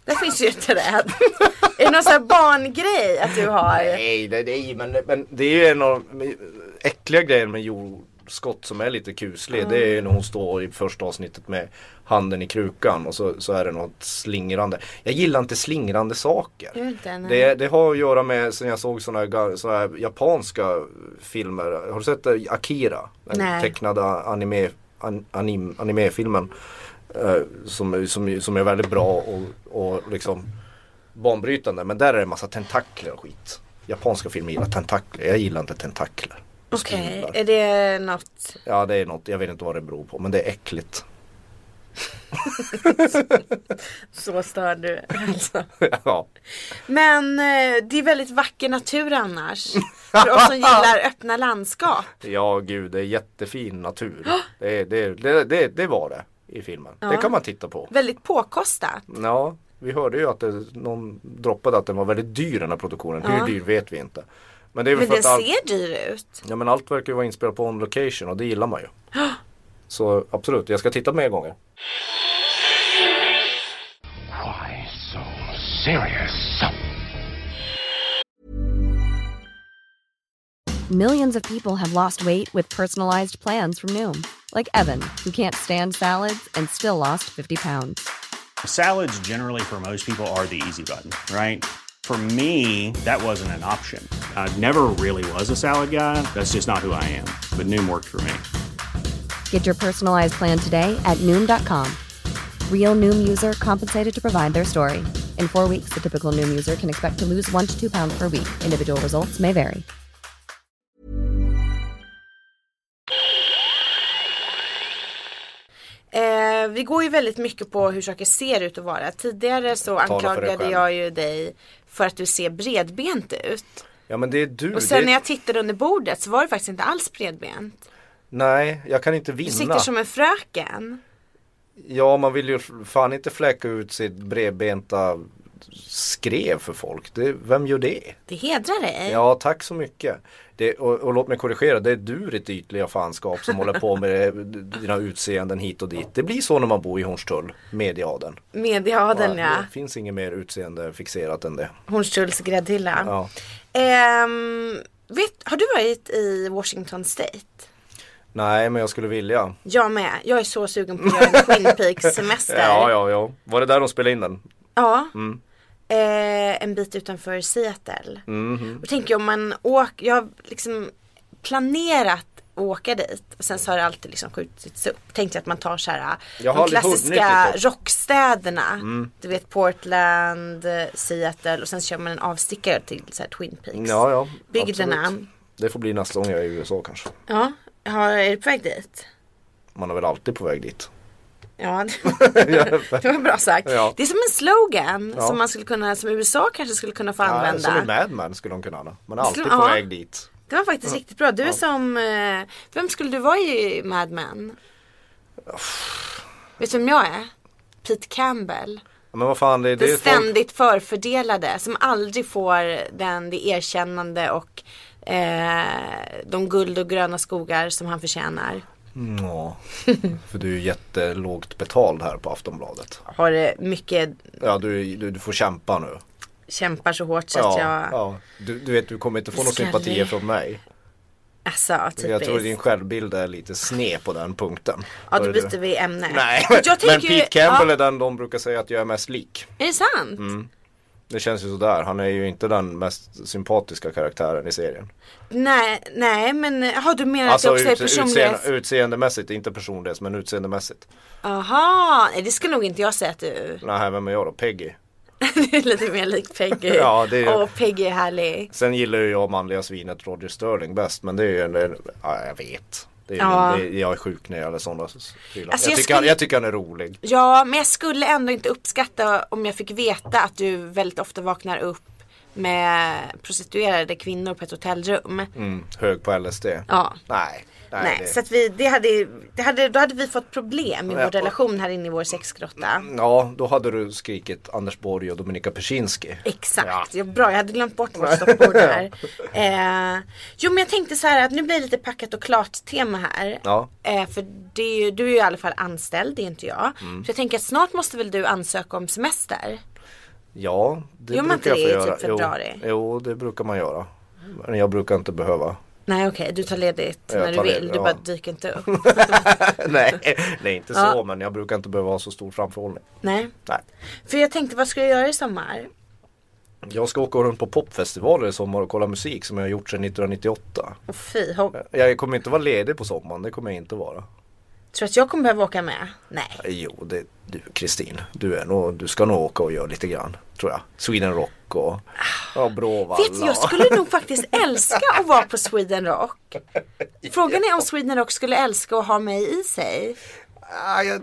Speaker 2: Där finns ju ett träd. är det någon sån här barngrej att du har?
Speaker 3: Nej, det, nej men, men det är ju en av de äckliga grejerna med jordskott som är lite kuslig. Det är ju när hon står i första avsnittet med handen i krukan och så, så är det något slingrande. Jag gillar inte slingrande saker.
Speaker 2: Gör du inte? Nej.
Speaker 3: Det, det har att göra med sen jag såg såna, här ga- såna här japanska filmer. Har du sett eh, Akira? Den
Speaker 2: Nej.
Speaker 3: tecknade anime, an, anim, animefilmen. Eh, som, som, som är väldigt bra och, och liksom banbrytande. Men där är det en massa tentakler och skit. Japanska filmer gillar tentakler. Jag gillar inte tentakler.
Speaker 2: Okej,
Speaker 3: Spindlar.
Speaker 2: är det något?
Speaker 3: Ja det är något, jag vet inte vad det beror på men det är äckligt.
Speaker 2: Så stör du alltså.
Speaker 3: ja.
Speaker 2: Men eh, det är väldigt vacker natur annars. För oss som gillar öppna landskap.
Speaker 3: ja gud det är jättefin natur. Det, det, det, det, det var det i filmen. Det
Speaker 2: Ja.
Speaker 3: kan man titta på.
Speaker 2: Väldigt påkostat.
Speaker 3: Ja, vi hörde ju att det, någon droppade att den var väldigt dyr den här produktionen. Hur dyr vet vi inte. Men det är väl
Speaker 2: Men
Speaker 3: för
Speaker 2: den
Speaker 3: att allt,
Speaker 2: ser dyr ut.
Speaker 3: ja, men allt verkar ju vara inspelat på on location och det gillar man ju. Så absolut, jag ska titta mer gånger.
Speaker 4: Why so serious?
Speaker 5: Millions of people have lost weight with personalized plans from Noom, like Evan, who can't stand salads and still lost 50 pounds.
Speaker 6: Salads, generally, for most people, are the easy button, right? For me, that wasn't an option. I never really was a salad guy. That's just not who I am. But Noom worked for me.
Speaker 5: Get your personalized plan today at Noom.com. Real Noom user compensated to provide their story. In four weeks, the typical Noom user can expect to lose one to two pounds per week. Individual results may vary.
Speaker 2: Eh, vi går ju väldigt mycket på hur saker ser ut att vara. Tidigare så
Speaker 3: för dig
Speaker 2: anklagade
Speaker 3: själv.
Speaker 2: jag ju dig för att du ser bredbent ut.
Speaker 3: Ja men det är du.
Speaker 2: Och sen
Speaker 3: Mm, det,
Speaker 2: när jag tittade under bordet så var du faktiskt inte alls bredbent.
Speaker 3: Nej, jag kan inte
Speaker 2: Du
Speaker 3: vinna.
Speaker 2: sitter som en fröken.
Speaker 3: Ja, man vill ju fan inte fläcka ut sitt bredbenta skrev för folk. Det, vem gör det?
Speaker 2: Det hedrar dig.
Speaker 3: Ja, tack så mycket. Det, och, och låt mig korrigera, det är du ditt ytliga fanskap som håller på med det, dina utseenden hit och dit. Det blir så när man bor i Hornstull, mediaden.
Speaker 2: Mediaden ja.
Speaker 3: Det finns inget mer utseende fixerat än det.
Speaker 2: Hornstulls gräddhylla.
Speaker 3: Ja.
Speaker 2: Ehm, vet, har du varit i Washington State?
Speaker 3: Nej, men jag skulle vilja.
Speaker 2: Jag med. Jag är så sugen på att göra en Twin Peaks semester.
Speaker 3: Ja, Mm. ja, ja. Var det där de spelade in den?
Speaker 2: Ja. Eh, en bit utanför Seattle.
Speaker 3: Mhm.
Speaker 2: Och tänker jag om man åker, jag har liksom planerat att åka dit och sen så har det alltid liksom skjutits upp. Tänkte jag att man tar så här äh,
Speaker 3: Jag har
Speaker 2: de
Speaker 3: aldrig hunnit Mm.
Speaker 2: klassiska
Speaker 3: riktigt.
Speaker 2: rockstäderna. Du vet Portland, eh, Seattle och sen så kör man en avstickare till så här Twin Peaks.
Speaker 3: Ja, ja.
Speaker 2: Bygger
Speaker 3: absolut.
Speaker 2: den
Speaker 3: Det får bli nästa gång jag är i USA kanske.
Speaker 2: Ja, har, är du på väg dit?
Speaker 3: Man är väl alltid på väg dit.
Speaker 2: Ja, det var bra sagt.
Speaker 3: Ja.
Speaker 2: Det är som en slogan
Speaker 3: Ja.
Speaker 2: som man skulle kunna, som USA kanske skulle kunna få
Speaker 3: Ja,
Speaker 2: använda.
Speaker 3: som en Mad Men skulle de kunna. ha. Man är alltid
Speaker 2: Skulle-
Speaker 3: på
Speaker 2: ja.
Speaker 3: väg dit.
Speaker 2: Det var faktiskt riktigt bra. Du är som, eh, vem skulle du vara i Mad Men? Vet du vem jag är? Pete Campbell.
Speaker 3: Ja, Men vad fan, det, det
Speaker 2: Den
Speaker 3: är folk...
Speaker 2: ständigt förfördelade som aldrig får den, det erkännande och eh, de guld och gröna skogar som han förtjänar.
Speaker 3: Ja, för du är ju jättelågt betald här på Aftonbladet.
Speaker 2: Har eh, mycket,
Speaker 3: Ja, du, du, du får kämpa nu.
Speaker 2: kämpar så hårt så att
Speaker 3: ja,
Speaker 2: jag,
Speaker 3: ja. Du, du vet, du kommer inte få några
Speaker 2: Skallig.
Speaker 3: sympatier från mig.
Speaker 2: alltså typiskt.
Speaker 3: Jag tror din självbild är lite sned på den punkten.
Speaker 2: Ja
Speaker 3: Hör
Speaker 2: då
Speaker 3: du?
Speaker 2: byter vi ämne.
Speaker 3: Nej,
Speaker 2: För att jag
Speaker 3: men
Speaker 2: tänker ju-
Speaker 3: Pete Campbell
Speaker 2: ja,
Speaker 3: är den de brukar säga att jag är Mm. mest lik.
Speaker 2: är... det sant?
Speaker 3: Det känns ju sådär, han är ju inte den mest sympatiska karaktären i serien.
Speaker 2: Nej, nej men eh, har du menat
Speaker 3: Alltså
Speaker 2: också är
Speaker 3: utse-
Speaker 2: personlighet?
Speaker 3: utseende, utseendemässigt, inte personlighets men utseendemässigt.
Speaker 2: Aha, nej det skulle nog inte jag säga att du
Speaker 3: Nej, vem är jag då? Peggy?
Speaker 2: det är lite mer lik Peggy.
Speaker 3: Ja, det är-
Speaker 2: Och Peggy är härlig.
Speaker 3: Sen gillar ju jag manliga svinet Roger Sterling bäst men det är ju en, en ja, jag vet. Det är,
Speaker 2: Ja.
Speaker 3: det, jag är sjuk när jag gäller sådana prylar.
Speaker 2: Alltså, jag
Speaker 3: jag, tycker han,
Speaker 2: skulle-
Speaker 3: jag tycker han är rolig.
Speaker 2: Ja, men jag skulle ändå inte uppskatta om jag fick veta att du väldigt ofta vaknar upp med prostituerade kvinnor på ett hotellrum.
Speaker 3: Mm, hög på LSD.
Speaker 2: Ja.
Speaker 3: Nej. Nej,
Speaker 2: Nej,
Speaker 3: det-
Speaker 2: så att vi, det hade, det hade, då hade vi fått problem i
Speaker 3: Ja,
Speaker 2: vår
Speaker 3: och-
Speaker 2: relation här inne i vår sexgrotta.
Speaker 3: Ja, då hade du skrikit Anders Borg och Dominika Persinski.
Speaker 2: Exakt,
Speaker 3: Ja.
Speaker 2: ja. bra jag hade glömt bort vårt stoppbord där. Eh, jo men jag tänkte så här att nu blir det lite packat och klart tema här.
Speaker 3: Ja.
Speaker 2: Eh, för det är ju, du är ju i alla fall anställd, det är inte jag.
Speaker 3: Mm.
Speaker 2: Så jag tänker att snart måste väl du ansöka om semester?
Speaker 3: Ja, det
Speaker 2: Gör man
Speaker 3: brukar jag
Speaker 2: inte
Speaker 3: få
Speaker 2: det i
Speaker 3: göra.
Speaker 2: typ februari?
Speaker 3: Jo, jo, det brukar man göra. Men jag brukar inte behöva.
Speaker 2: Nej okej, du tar ledigt
Speaker 3: Jag
Speaker 2: när du
Speaker 3: tar
Speaker 2: vill.
Speaker 3: ledigt,
Speaker 2: Du
Speaker 3: ja.
Speaker 2: bara dyker inte upp.
Speaker 3: nej, nej, inte så,
Speaker 2: Ja.
Speaker 3: men jag brukar inte behöva ha så stor framförhållning.
Speaker 2: Nej.
Speaker 3: Nej.
Speaker 2: För jag tänkte vad ska jag göra i sommar?
Speaker 3: Jag ska åka runt på popfestivaler i sommar och kolla musik som jag har gjort sedan 1998.
Speaker 2: Och fy, ho-
Speaker 3: Jag kommer inte vara ledig på sommaren, det kommer jag inte vara. Eh,
Speaker 2: tror du att jag kommer behöva åka med? Nej.
Speaker 3: Jo, det, du Kristin, du, är nog, du ska nog åka och göra lite grann, tror jag. Sweden Rock och, och Bråvalla.
Speaker 2: Vet du, jag skulle nog faktiskt älska att vara på Sweden Rock. Frågan är om Sweden Rock skulle älska att ha mig i sig.
Speaker 3: Ah, jag,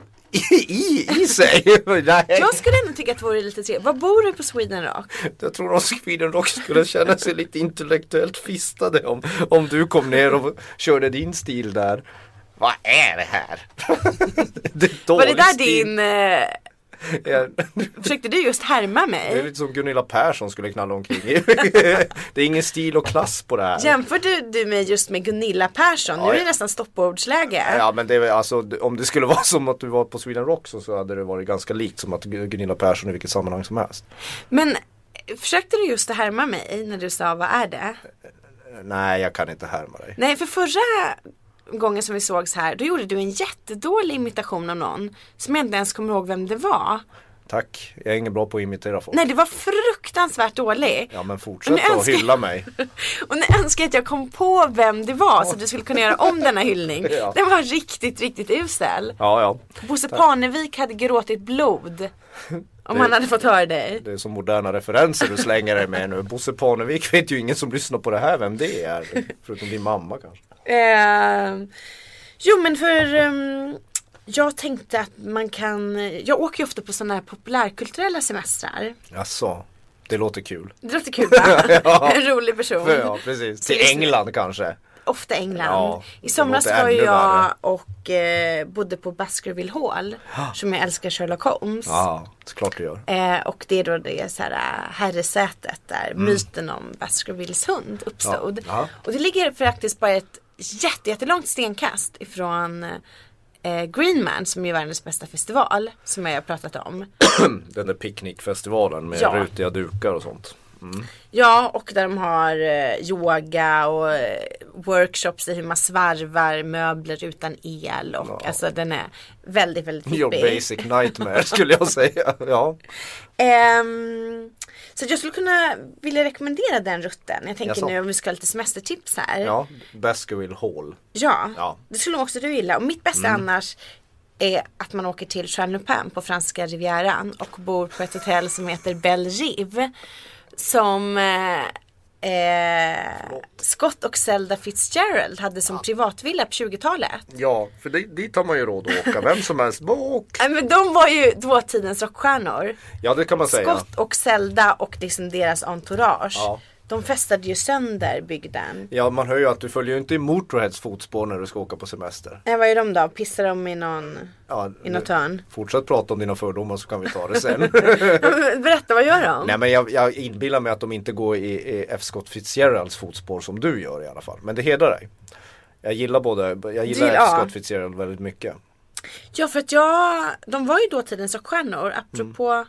Speaker 3: i, I sig? Nej.
Speaker 2: Jag skulle ändå tycka att det vore lite trevligt. Var bor du på Sweden Rock?
Speaker 3: Jag tror de Sweden Rock skulle känna sig lite intellektuellt fistade om, om du kom ner och körde din stil där. Vad är det här? det är
Speaker 2: Var det
Speaker 3: dålig
Speaker 2: där
Speaker 3: stil.
Speaker 2: din... Eh,
Speaker 3: Ja,
Speaker 2: försökte du just härma
Speaker 3: Det är
Speaker 2: mig?
Speaker 3: lite som Gunilla Persson skulle knalla omkring i. Det är ingen stil och klass på det här.
Speaker 2: Jämförde du mig just med Gunilla Persson? Nu
Speaker 3: Ja,
Speaker 2: är det
Speaker 3: ja.
Speaker 2: nästan stoppordsläge.
Speaker 3: Ja men det är väl alltså om det skulle vara som att du var på Sweden Rock så, så hade det varit ganska likt som att Gunilla Persson i vilket sammanhang som helst.
Speaker 2: Men försökte du just att härma mig när du sa vad är det?
Speaker 3: Nej jag kan inte härma dig.
Speaker 2: Nej, för förra gången som vi sågs här, då gjorde du en jättedålig imitation av någon som jag inte ens kommer ihåg vem det var.
Speaker 3: Tack, jag är ingen bra på att imitera folk.
Speaker 2: Nej, det var fruktansvärt dålig.
Speaker 3: Ja men fortsätt
Speaker 2: Men jag
Speaker 3: då
Speaker 2: önskar-
Speaker 3: hylla mig.
Speaker 2: Och nu önskar jag att jag kom på vem det var så att du skulle kunna göra om denna hyllning.
Speaker 3: Ja.
Speaker 2: Den var riktigt, riktigt usel.
Speaker 3: Ja ja,
Speaker 2: Bosse Parnevik hade gråtit blod. Om
Speaker 3: Det-
Speaker 2: han hade fått höra dig.
Speaker 3: det är så moderna referenser du slänger dig med nu. Bosse Parnevik vet ju ingen som lyssnar på det här vem det är. Förutom din mamma kanske.
Speaker 2: Eh, jo men för ehm, jag tänkte att man kan, jag åker ju ofta på sådana här populärkulturella semestrar.
Speaker 3: Jaså, det låter kul.
Speaker 2: Det låter kul va? En rolig person.
Speaker 3: Ja precis, till England kanske.
Speaker 2: Ofta England.
Speaker 3: Ja,
Speaker 2: I somras
Speaker 3: det låter
Speaker 2: var ju
Speaker 3: ännu
Speaker 2: jag
Speaker 3: värre.
Speaker 2: och eh, bodde på Baskerville Hall. Som jag älskar Sherlock Holmes.
Speaker 3: Ja, såklart du gör.
Speaker 2: Eh, och det är då det så här, äh, herresätet där myten om Baskervilles hund uppstod.
Speaker 3: Mm. Ja, ja.
Speaker 2: Och det ligger faktiskt bara ett jätte, jättelångt stenkast ifrån eh, Greenman som är världens bästa festival. Som jag har pratat om.
Speaker 3: Den där picknickfestivalen med
Speaker 2: Ja.
Speaker 3: rutiga dukar och sånt.
Speaker 2: Ja, och där de har eh, yoga och eh, workshops i hur man svarvar möbler utan el och alltså den är väldigt, väldigt
Speaker 3: Your
Speaker 2: hippie.
Speaker 3: basic nightmare skulle jag säga. Ja,
Speaker 2: Ehm, så att jag skulle kunna vilja rekommendera den rutten. Jag tänker
Speaker 3: Jaså?
Speaker 2: nu om vi ska ha lite semestertips här.
Speaker 3: ja. Baskerville Hall.
Speaker 2: Ja,
Speaker 3: Ja. Mm.
Speaker 2: det skulle nog också du gilla. Och mitt bästa annars är att man åker till Jean-Lupin på franska rivieran och bor på ett hotell som heter Belle Rive. Som eh, eh, Scott och Zelda Fitzgerald hade som privatvilla på 20-talet.
Speaker 3: Ja, för det, dit har man ju råd att åka. Vem som helst. Bara åk.
Speaker 2: Nej, Men de var ju dåtidens rockstjärnor.
Speaker 3: Ja, det kan man säga.
Speaker 2: Scott och Zelda och liksom deras entourage.
Speaker 3: Ja.
Speaker 2: De festade ju sönder bygden.
Speaker 3: Ja, man hör ju att du följer ju inte i Motörheads fotspår när du ska åka på semester.
Speaker 2: Nej, vad är de då? Pissar de i någon,
Speaker 3: Ja,
Speaker 2: i
Speaker 3: nu-
Speaker 2: något hörn?
Speaker 3: Fortsätt prata om dina fördomar så kan vi ta det sen.
Speaker 2: Berätta, vad gör de?
Speaker 3: Nej men jag, jag inbillar mig att de inte går i, i F. Scott Fitzgeralds fotspår som du gör i alla fall. Men det hedrar dig. Jag gillar både, jag gillar
Speaker 2: Gilla-
Speaker 3: F.
Speaker 2: ja.
Speaker 3: Scott Fitzgerald väldigt mycket.
Speaker 2: Ja för att jag, de var ju dåtidens rockstjärnor apropå
Speaker 3: Mm.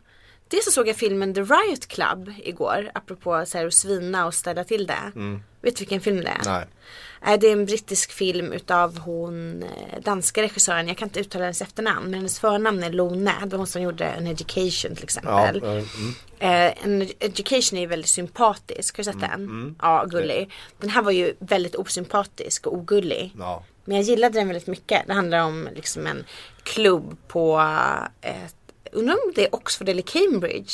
Speaker 2: Dels så såg jag filmen The Riot Club igår apropå så här, att svina och ställa till det. Vet du vilken film det är?
Speaker 3: Mm. Nej.
Speaker 2: Nej, Det är en brittisk film utav hon eh, danska regissören, jag kan inte uttala hennes efternamn men hennes förnamn är Lone. Det var hon som gjorde An Education till
Speaker 3: Ja,
Speaker 2: exempel.
Speaker 3: eh, mm.
Speaker 2: Eh, en education är ju väldigt sympatisk, har du sett
Speaker 3: Mm,
Speaker 2: den? Ja, gullig. Den här var ju väldigt osympatisk och ogullig.
Speaker 3: Ja.
Speaker 2: Men jag gillade den väldigt mycket. Det handlar om liksom eh, en klubb på, ett, undrar om det är Oxford eller Cambridge.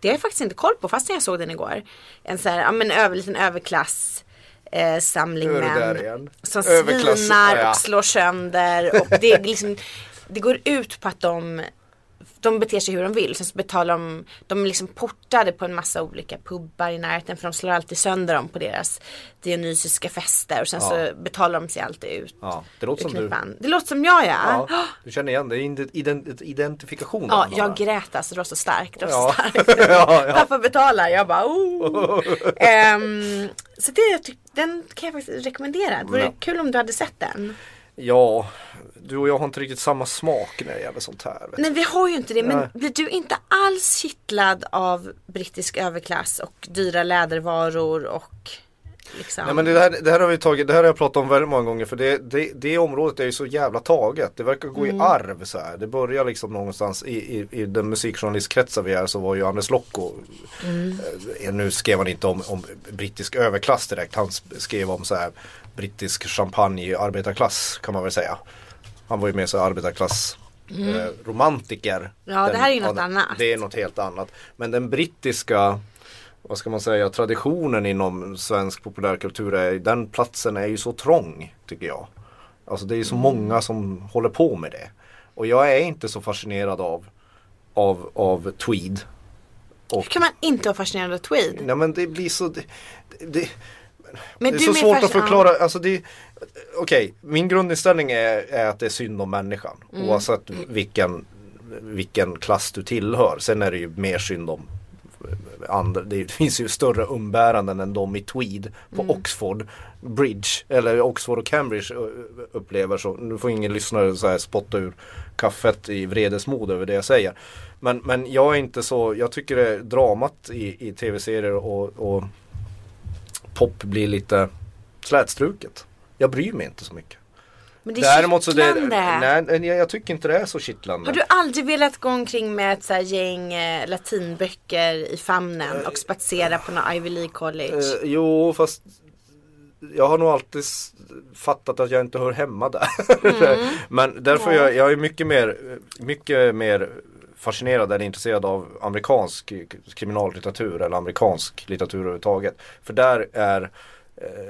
Speaker 2: det har jag faktiskt inte koll på fastän jag såg den igår. En så här, ja men över, liten överklass eh, samling
Speaker 3: Nu är du
Speaker 2: män.
Speaker 3: där igen.
Speaker 2: Som
Speaker 3: Överklass,
Speaker 2: svinar
Speaker 3: ja.
Speaker 2: och slår sönder och det är liksom, det går ut på att de de beter sig hur de vill. Sen så betalar de, de är liksom portade på en massa olika pubbar i närheten för de slår alltid sönder dem på deras dionysiska fester och sen så betalar de sig alltid ut.
Speaker 3: Ja, det låter
Speaker 2: ur
Speaker 3: som du.
Speaker 2: knipan. Det låter som jag ja.
Speaker 3: Ja,
Speaker 2: Ja,
Speaker 3: du känner igen det, det är ident- ident- identifikation. av
Speaker 2: jag
Speaker 3: några.
Speaker 2: grät alltså, det var så starkt. Det var
Speaker 3: Ja.
Speaker 2: så starkt.
Speaker 3: Ja, ja.
Speaker 2: Pappa betalar, jag bara oh. Ehm, Så det, tyck- den kan jag faktiskt rekommendera. Det vore
Speaker 3: Ja.
Speaker 2: kul om du hade sett den.
Speaker 3: ja, du och jag har inte riktigt samma smak när det gäller sånt här. Vet du.
Speaker 2: Nej vi har ju inte det men blir du inte alls kittlad av brittisk överklass och dyra lädervaror och liksom
Speaker 3: Nej men det här, det här har vi tagit, det här har jag pratat om väldigt många gånger för det, det, det området är ju så jävla taget. Det verkar gå
Speaker 2: Mm.
Speaker 3: i arv så här. Det börjar liksom någonstans i, i, i den musikjournalistkretsen vi är så var ju Anders Locko eh, Nu skrev han inte om, om brittisk överklass direkt. Han s- skrev om så här brittisk champagne arbetarklass kan man väl säga. Han var ju mer så här arbetarklass eh, romantiker.
Speaker 2: Mm. Ja, det här är ju något
Speaker 3: ja,
Speaker 2: annat.
Speaker 3: Det är något helt annat. Men den brittiska vad ska man säga, traditionen inom svensk populärkultur är, den platsen är ju så trång tycker jag. Alltså det är ju
Speaker 2: Mm.
Speaker 3: så många som håller på med det. Och jag är inte så fascinerad av, av, av tweed.
Speaker 2: Hur kan man inte vara fascinerad av tweed?
Speaker 3: Nej men det blir så, det, det,
Speaker 2: Men
Speaker 3: det
Speaker 2: du
Speaker 3: är så
Speaker 2: mer
Speaker 3: svårt att
Speaker 2: fascin-
Speaker 3: förklara. Alltså det, okej, min grundinställning är, är att det är synd om människan.
Speaker 2: Mm.
Speaker 3: Oavsett vilken, vilken klass du tillhör. Sen är det ju mer synd om andra. Det finns ju större umbäranden än de i tweed på
Speaker 2: Mm.
Speaker 3: Oxford Bridge. Eller Oxford och Cambridge ö, ö, upplever så. Nu får ingen lyssnare så här spotta ur kaffet i vredesmod över det jag säger. Men, men jag är inte så, jag tycker det, dramat i, i tv-serier och, och pop blir lite slätstruket. Jag bryr mig inte så mycket.
Speaker 2: Men det är Däremot kittlande.
Speaker 3: så det, nej, nej, jag tycker inte det är så kittlande.
Speaker 2: Har du aldrig velat gå omkring med ett så här gäng eh, latinböcker i famnen och spatsera på någon Ivy League college?
Speaker 3: Eh, jo, fast jag har nog alltid s- fattat att jag inte hör hemma där. Men därför är jag, jag är mycket mer, mycket mer fascinerad eller intresserad av amerikansk k- kriminallitteratur eller amerikansk litteratur överhuvudtaget. För där är eh,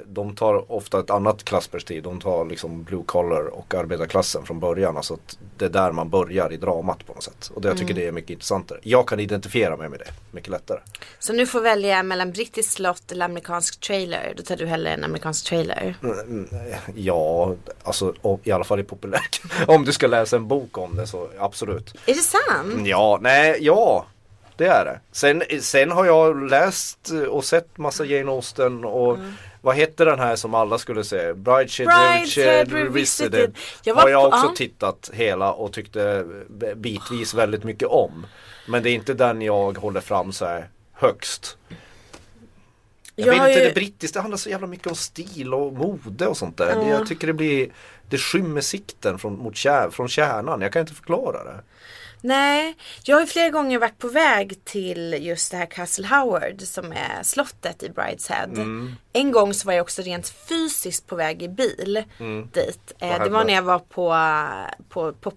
Speaker 3: de tar ofta ett annat klassperspektiv. De tar liksom blue collar och arbetarklassen från början. Alltså att det är där man börjar i dramat på något sätt. Och det, jag tycker det är mycket intressantare. Jag kan identifiera mig med det mycket lättare.
Speaker 2: Så nu får välja mellan brittiskt slott eller amerikansk trailer. Då tar du hellre en amerikansk trailer.
Speaker 3: Mm. Ja, alltså o- i alla fall i populär. om du ska läsa en bok om det så absolut.
Speaker 2: Är det sant?
Speaker 3: Mm. Ja, nej, ja. Det är det. Sen, sen har jag läst eh, och sett massa Jane Austen och
Speaker 2: Mm.
Speaker 3: vad heter den här som alla skulle se? Brideshead
Speaker 2: Brideshead
Speaker 3: Revisited.
Speaker 2: Revisited. Jag
Speaker 3: Jag
Speaker 2: var
Speaker 3: har jag
Speaker 2: på-
Speaker 3: också
Speaker 2: ja.
Speaker 3: tittat hela och tyckte b- bitvis väldigt mycket om. Men det är inte den jag håller fram så här högst. Jag,
Speaker 2: har
Speaker 3: vet inte,
Speaker 2: ju-
Speaker 3: det brittiska det handlar så jävla mycket om stil och mode och sånt där. Det- Jag tycker det blir, det skymmer sikten från, mot kär, från kärnan. Jag kan inte förklara det.
Speaker 2: Nej, jag har ju flera gånger varit på väg till just det här Castle Howard som är slottet i Brideshead. En gång så var jag också rent fysiskt på väg i bil dit. Eh, det var
Speaker 3: hände?
Speaker 2: när jag var på, på, på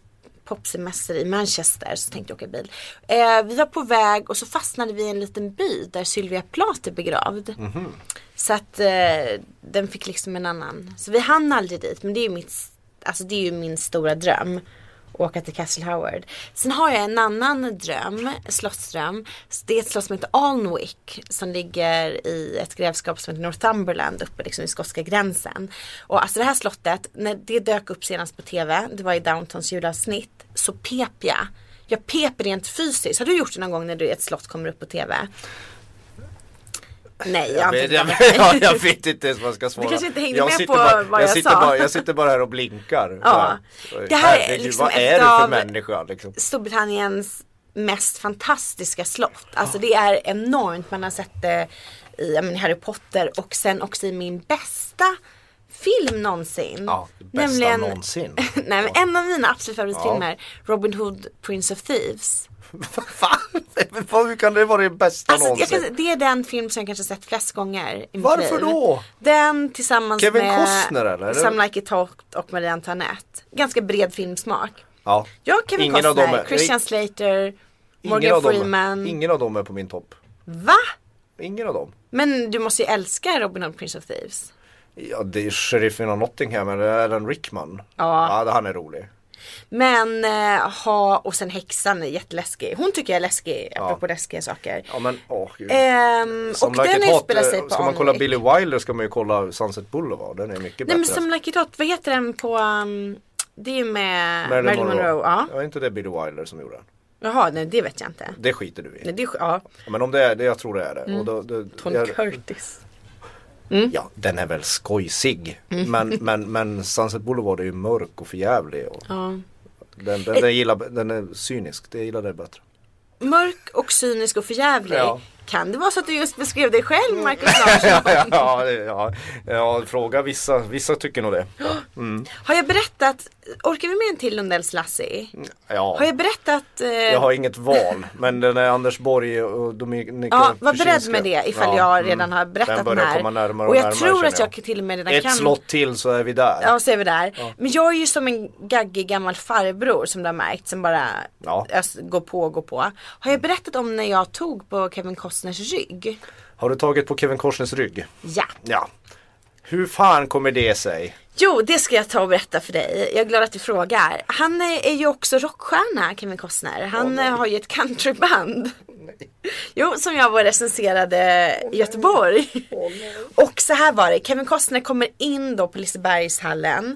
Speaker 2: popsemester i Manchester så tänkte jag åka bil. Eh, vi var på väg och så fastnade vi i en liten by där Sylvia Plath är begravd. Så att eh, den fick liksom en annan. Så vi hann aldrig dit men det är ju, mitt, alltså det är ju min stora dröm. Åka till Castle Howard. Sen har jag en annan dröm, slottsdröm. Det är ett slott som heter Alnwick. Som ligger i ett grevskap som heter Northumberland uppe liksom i skotska gränsen. Och alltså det här slottet, när det dök upp senast på TV, det var i Downtons julavsnitt, så pep jag. Jag pep rent fysiskt. Har du gjort det någon gång när du ett slott kommer upp på TV? Nej, Alltså, jag har inte
Speaker 3: Men Jag,
Speaker 2: gjort det.
Speaker 3: jag, jag vet inte ens vad jag ska svara.
Speaker 2: kanske inte hängde
Speaker 3: jag
Speaker 2: med
Speaker 3: sitter
Speaker 2: på
Speaker 3: bara,
Speaker 2: vad jag
Speaker 3: sitter
Speaker 2: sa.
Speaker 3: Bara, jag sitter bara här och blinkar.
Speaker 2: Ja.
Speaker 3: Så här,
Speaker 2: Det här är
Speaker 3: herregud,
Speaker 2: liksom
Speaker 3: vad
Speaker 2: ett
Speaker 3: är du för
Speaker 2: av-
Speaker 3: människa? Liksom?
Speaker 2: Storbritanniens mest fantastiska slott. Alltså det är enormt. Man har sett det i ja, men Harry Potter och sen också i min bästa film någonsin.
Speaker 3: Ja, det bästa någonsin.
Speaker 2: Nej, men en av mina absolut favoritfilmer, Robin Hood, Prince of Thieves.
Speaker 3: Fan, hur kan det vara det bästa
Speaker 2: Alltså, jag
Speaker 3: någonsin?
Speaker 2: kan, säga, det är den film som jag kanske sett flest gånger i mitt
Speaker 3: Varför
Speaker 2: liv.
Speaker 3: då?
Speaker 2: Den tillsammans
Speaker 3: Kevin
Speaker 2: med
Speaker 3: Costner, eller?
Speaker 2: Some Like It Hot och Marie Antoinette. Ganska bred filmsmak.
Speaker 3: Ja.
Speaker 2: Jag, Kevin
Speaker 3: Ingen av dem
Speaker 2: Costner,
Speaker 3: är-
Speaker 2: Christian Slater
Speaker 3: Ingen
Speaker 2: Morgan
Speaker 3: av,
Speaker 2: Freeman.
Speaker 3: dem, ingen av dem är på min topp.
Speaker 2: Va?
Speaker 3: Ingen av dem.
Speaker 2: Men du måste ju älska Robin Hood Prince of Thieves.
Speaker 3: Ja, det är sheriffen av Nottingham, eller Alan Rickman.
Speaker 2: Ja.
Speaker 3: ja han är rolig.
Speaker 2: Men eh, ha, och sen häxan är jätteläskig. Hon tycker jag är läskig, apropå läskiga saker.
Speaker 3: Ja men åh gud.
Speaker 2: Ehm,
Speaker 3: Som
Speaker 2: och
Speaker 3: Like
Speaker 2: den
Speaker 3: It Hot,
Speaker 2: utspelar sig
Speaker 3: eh,
Speaker 2: på
Speaker 3: Ska man kolla
Speaker 2: Alnwick.
Speaker 3: Billy Wilder ska man ju kolla Sunset Boulevard, den är mycket
Speaker 2: Nej men
Speaker 3: bättre. alltså.
Speaker 2: som Like It Hot, vad heter den på um, Det är ju med
Speaker 3: Marilyn
Speaker 2: Marilyn Monroe. Ja.
Speaker 3: Ja, inte det Billy Wilder som gjorde den.
Speaker 2: Jaha, nej det vet jag inte.
Speaker 3: Det skiter du i.
Speaker 2: Nej, det är, sj- ja.
Speaker 3: Men om det är det, jag tror det är det. Och då, då,
Speaker 2: Tony Mm.
Speaker 3: jag, Mm.
Speaker 2: Curtis.
Speaker 3: Ja, den är väl skojsig.
Speaker 2: Mm.
Speaker 3: Men, men, men Sunset Boulevard är ju mörk och förjävlig. Och
Speaker 2: Ja.
Speaker 3: den, den, den, gillar, den är cynisk, det gillar det bättre.
Speaker 2: Mörk och cynisk och förjävlig.
Speaker 3: Ja.
Speaker 2: Kan det vara så att du just beskrev dig själv Marcus Larsson?
Speaker 3: ja, det- ja, ja, fråga vissa, vissa tycker nog det.
Speaker 2: Har jag berättat, orkar vi med en till Lundells Lassie?
Speaker 3: Mm. Ja,
Speaker 2: Har jag berättat? Eh,
Speaker 3: jag har inget val. Men den är Anders Borg och Dominika
Speaker 2: ja, var beredd
Speaker 3: Krasinski.
Speaker 2: med det ifall
Speaker 3: Ja,
Speaker 2: jag redan
Speaker 3: mm.
Speaker 2: har berättat
Speaker 3: den börjar
Speaker 2: här.
Speaker 3: komma närmare och,
Speaker 2: och jag
Speaker 3: närmare,
Speaker 2: tror
Speaker 3: känner
Speaker 2: att jag till och med redan
Speaker 3: Ett
Speaker 2: kan
Speaker 3: slott till så är vi där.
Speaker 2: Ja, så är vi där. Men jag är ju som en gaggig gammal farbror som du har märkt som bara
Speaker 3: Ja.
Speaker 2: ös- går på och går på. Har jag berättat om när jag tog på Kevin Costners rygg?
Speaker 3: Har du tagit på Kevin Korsners rygg?
Speaker 2: Ja.
Speaker 3: Ja. Hur fan kommer det sig?
Speaker 2: Jo, det ska jag ta och berätta för dig. Jag är glad att du frågar. Han är, är ju också rockstjärna, Kevin Costner. Han eh, har ju ett countryband. Jo, som jag var och recenserade i Göteborg. Och så här var det, Kevin Costner kommer in då på Lisebergshallen.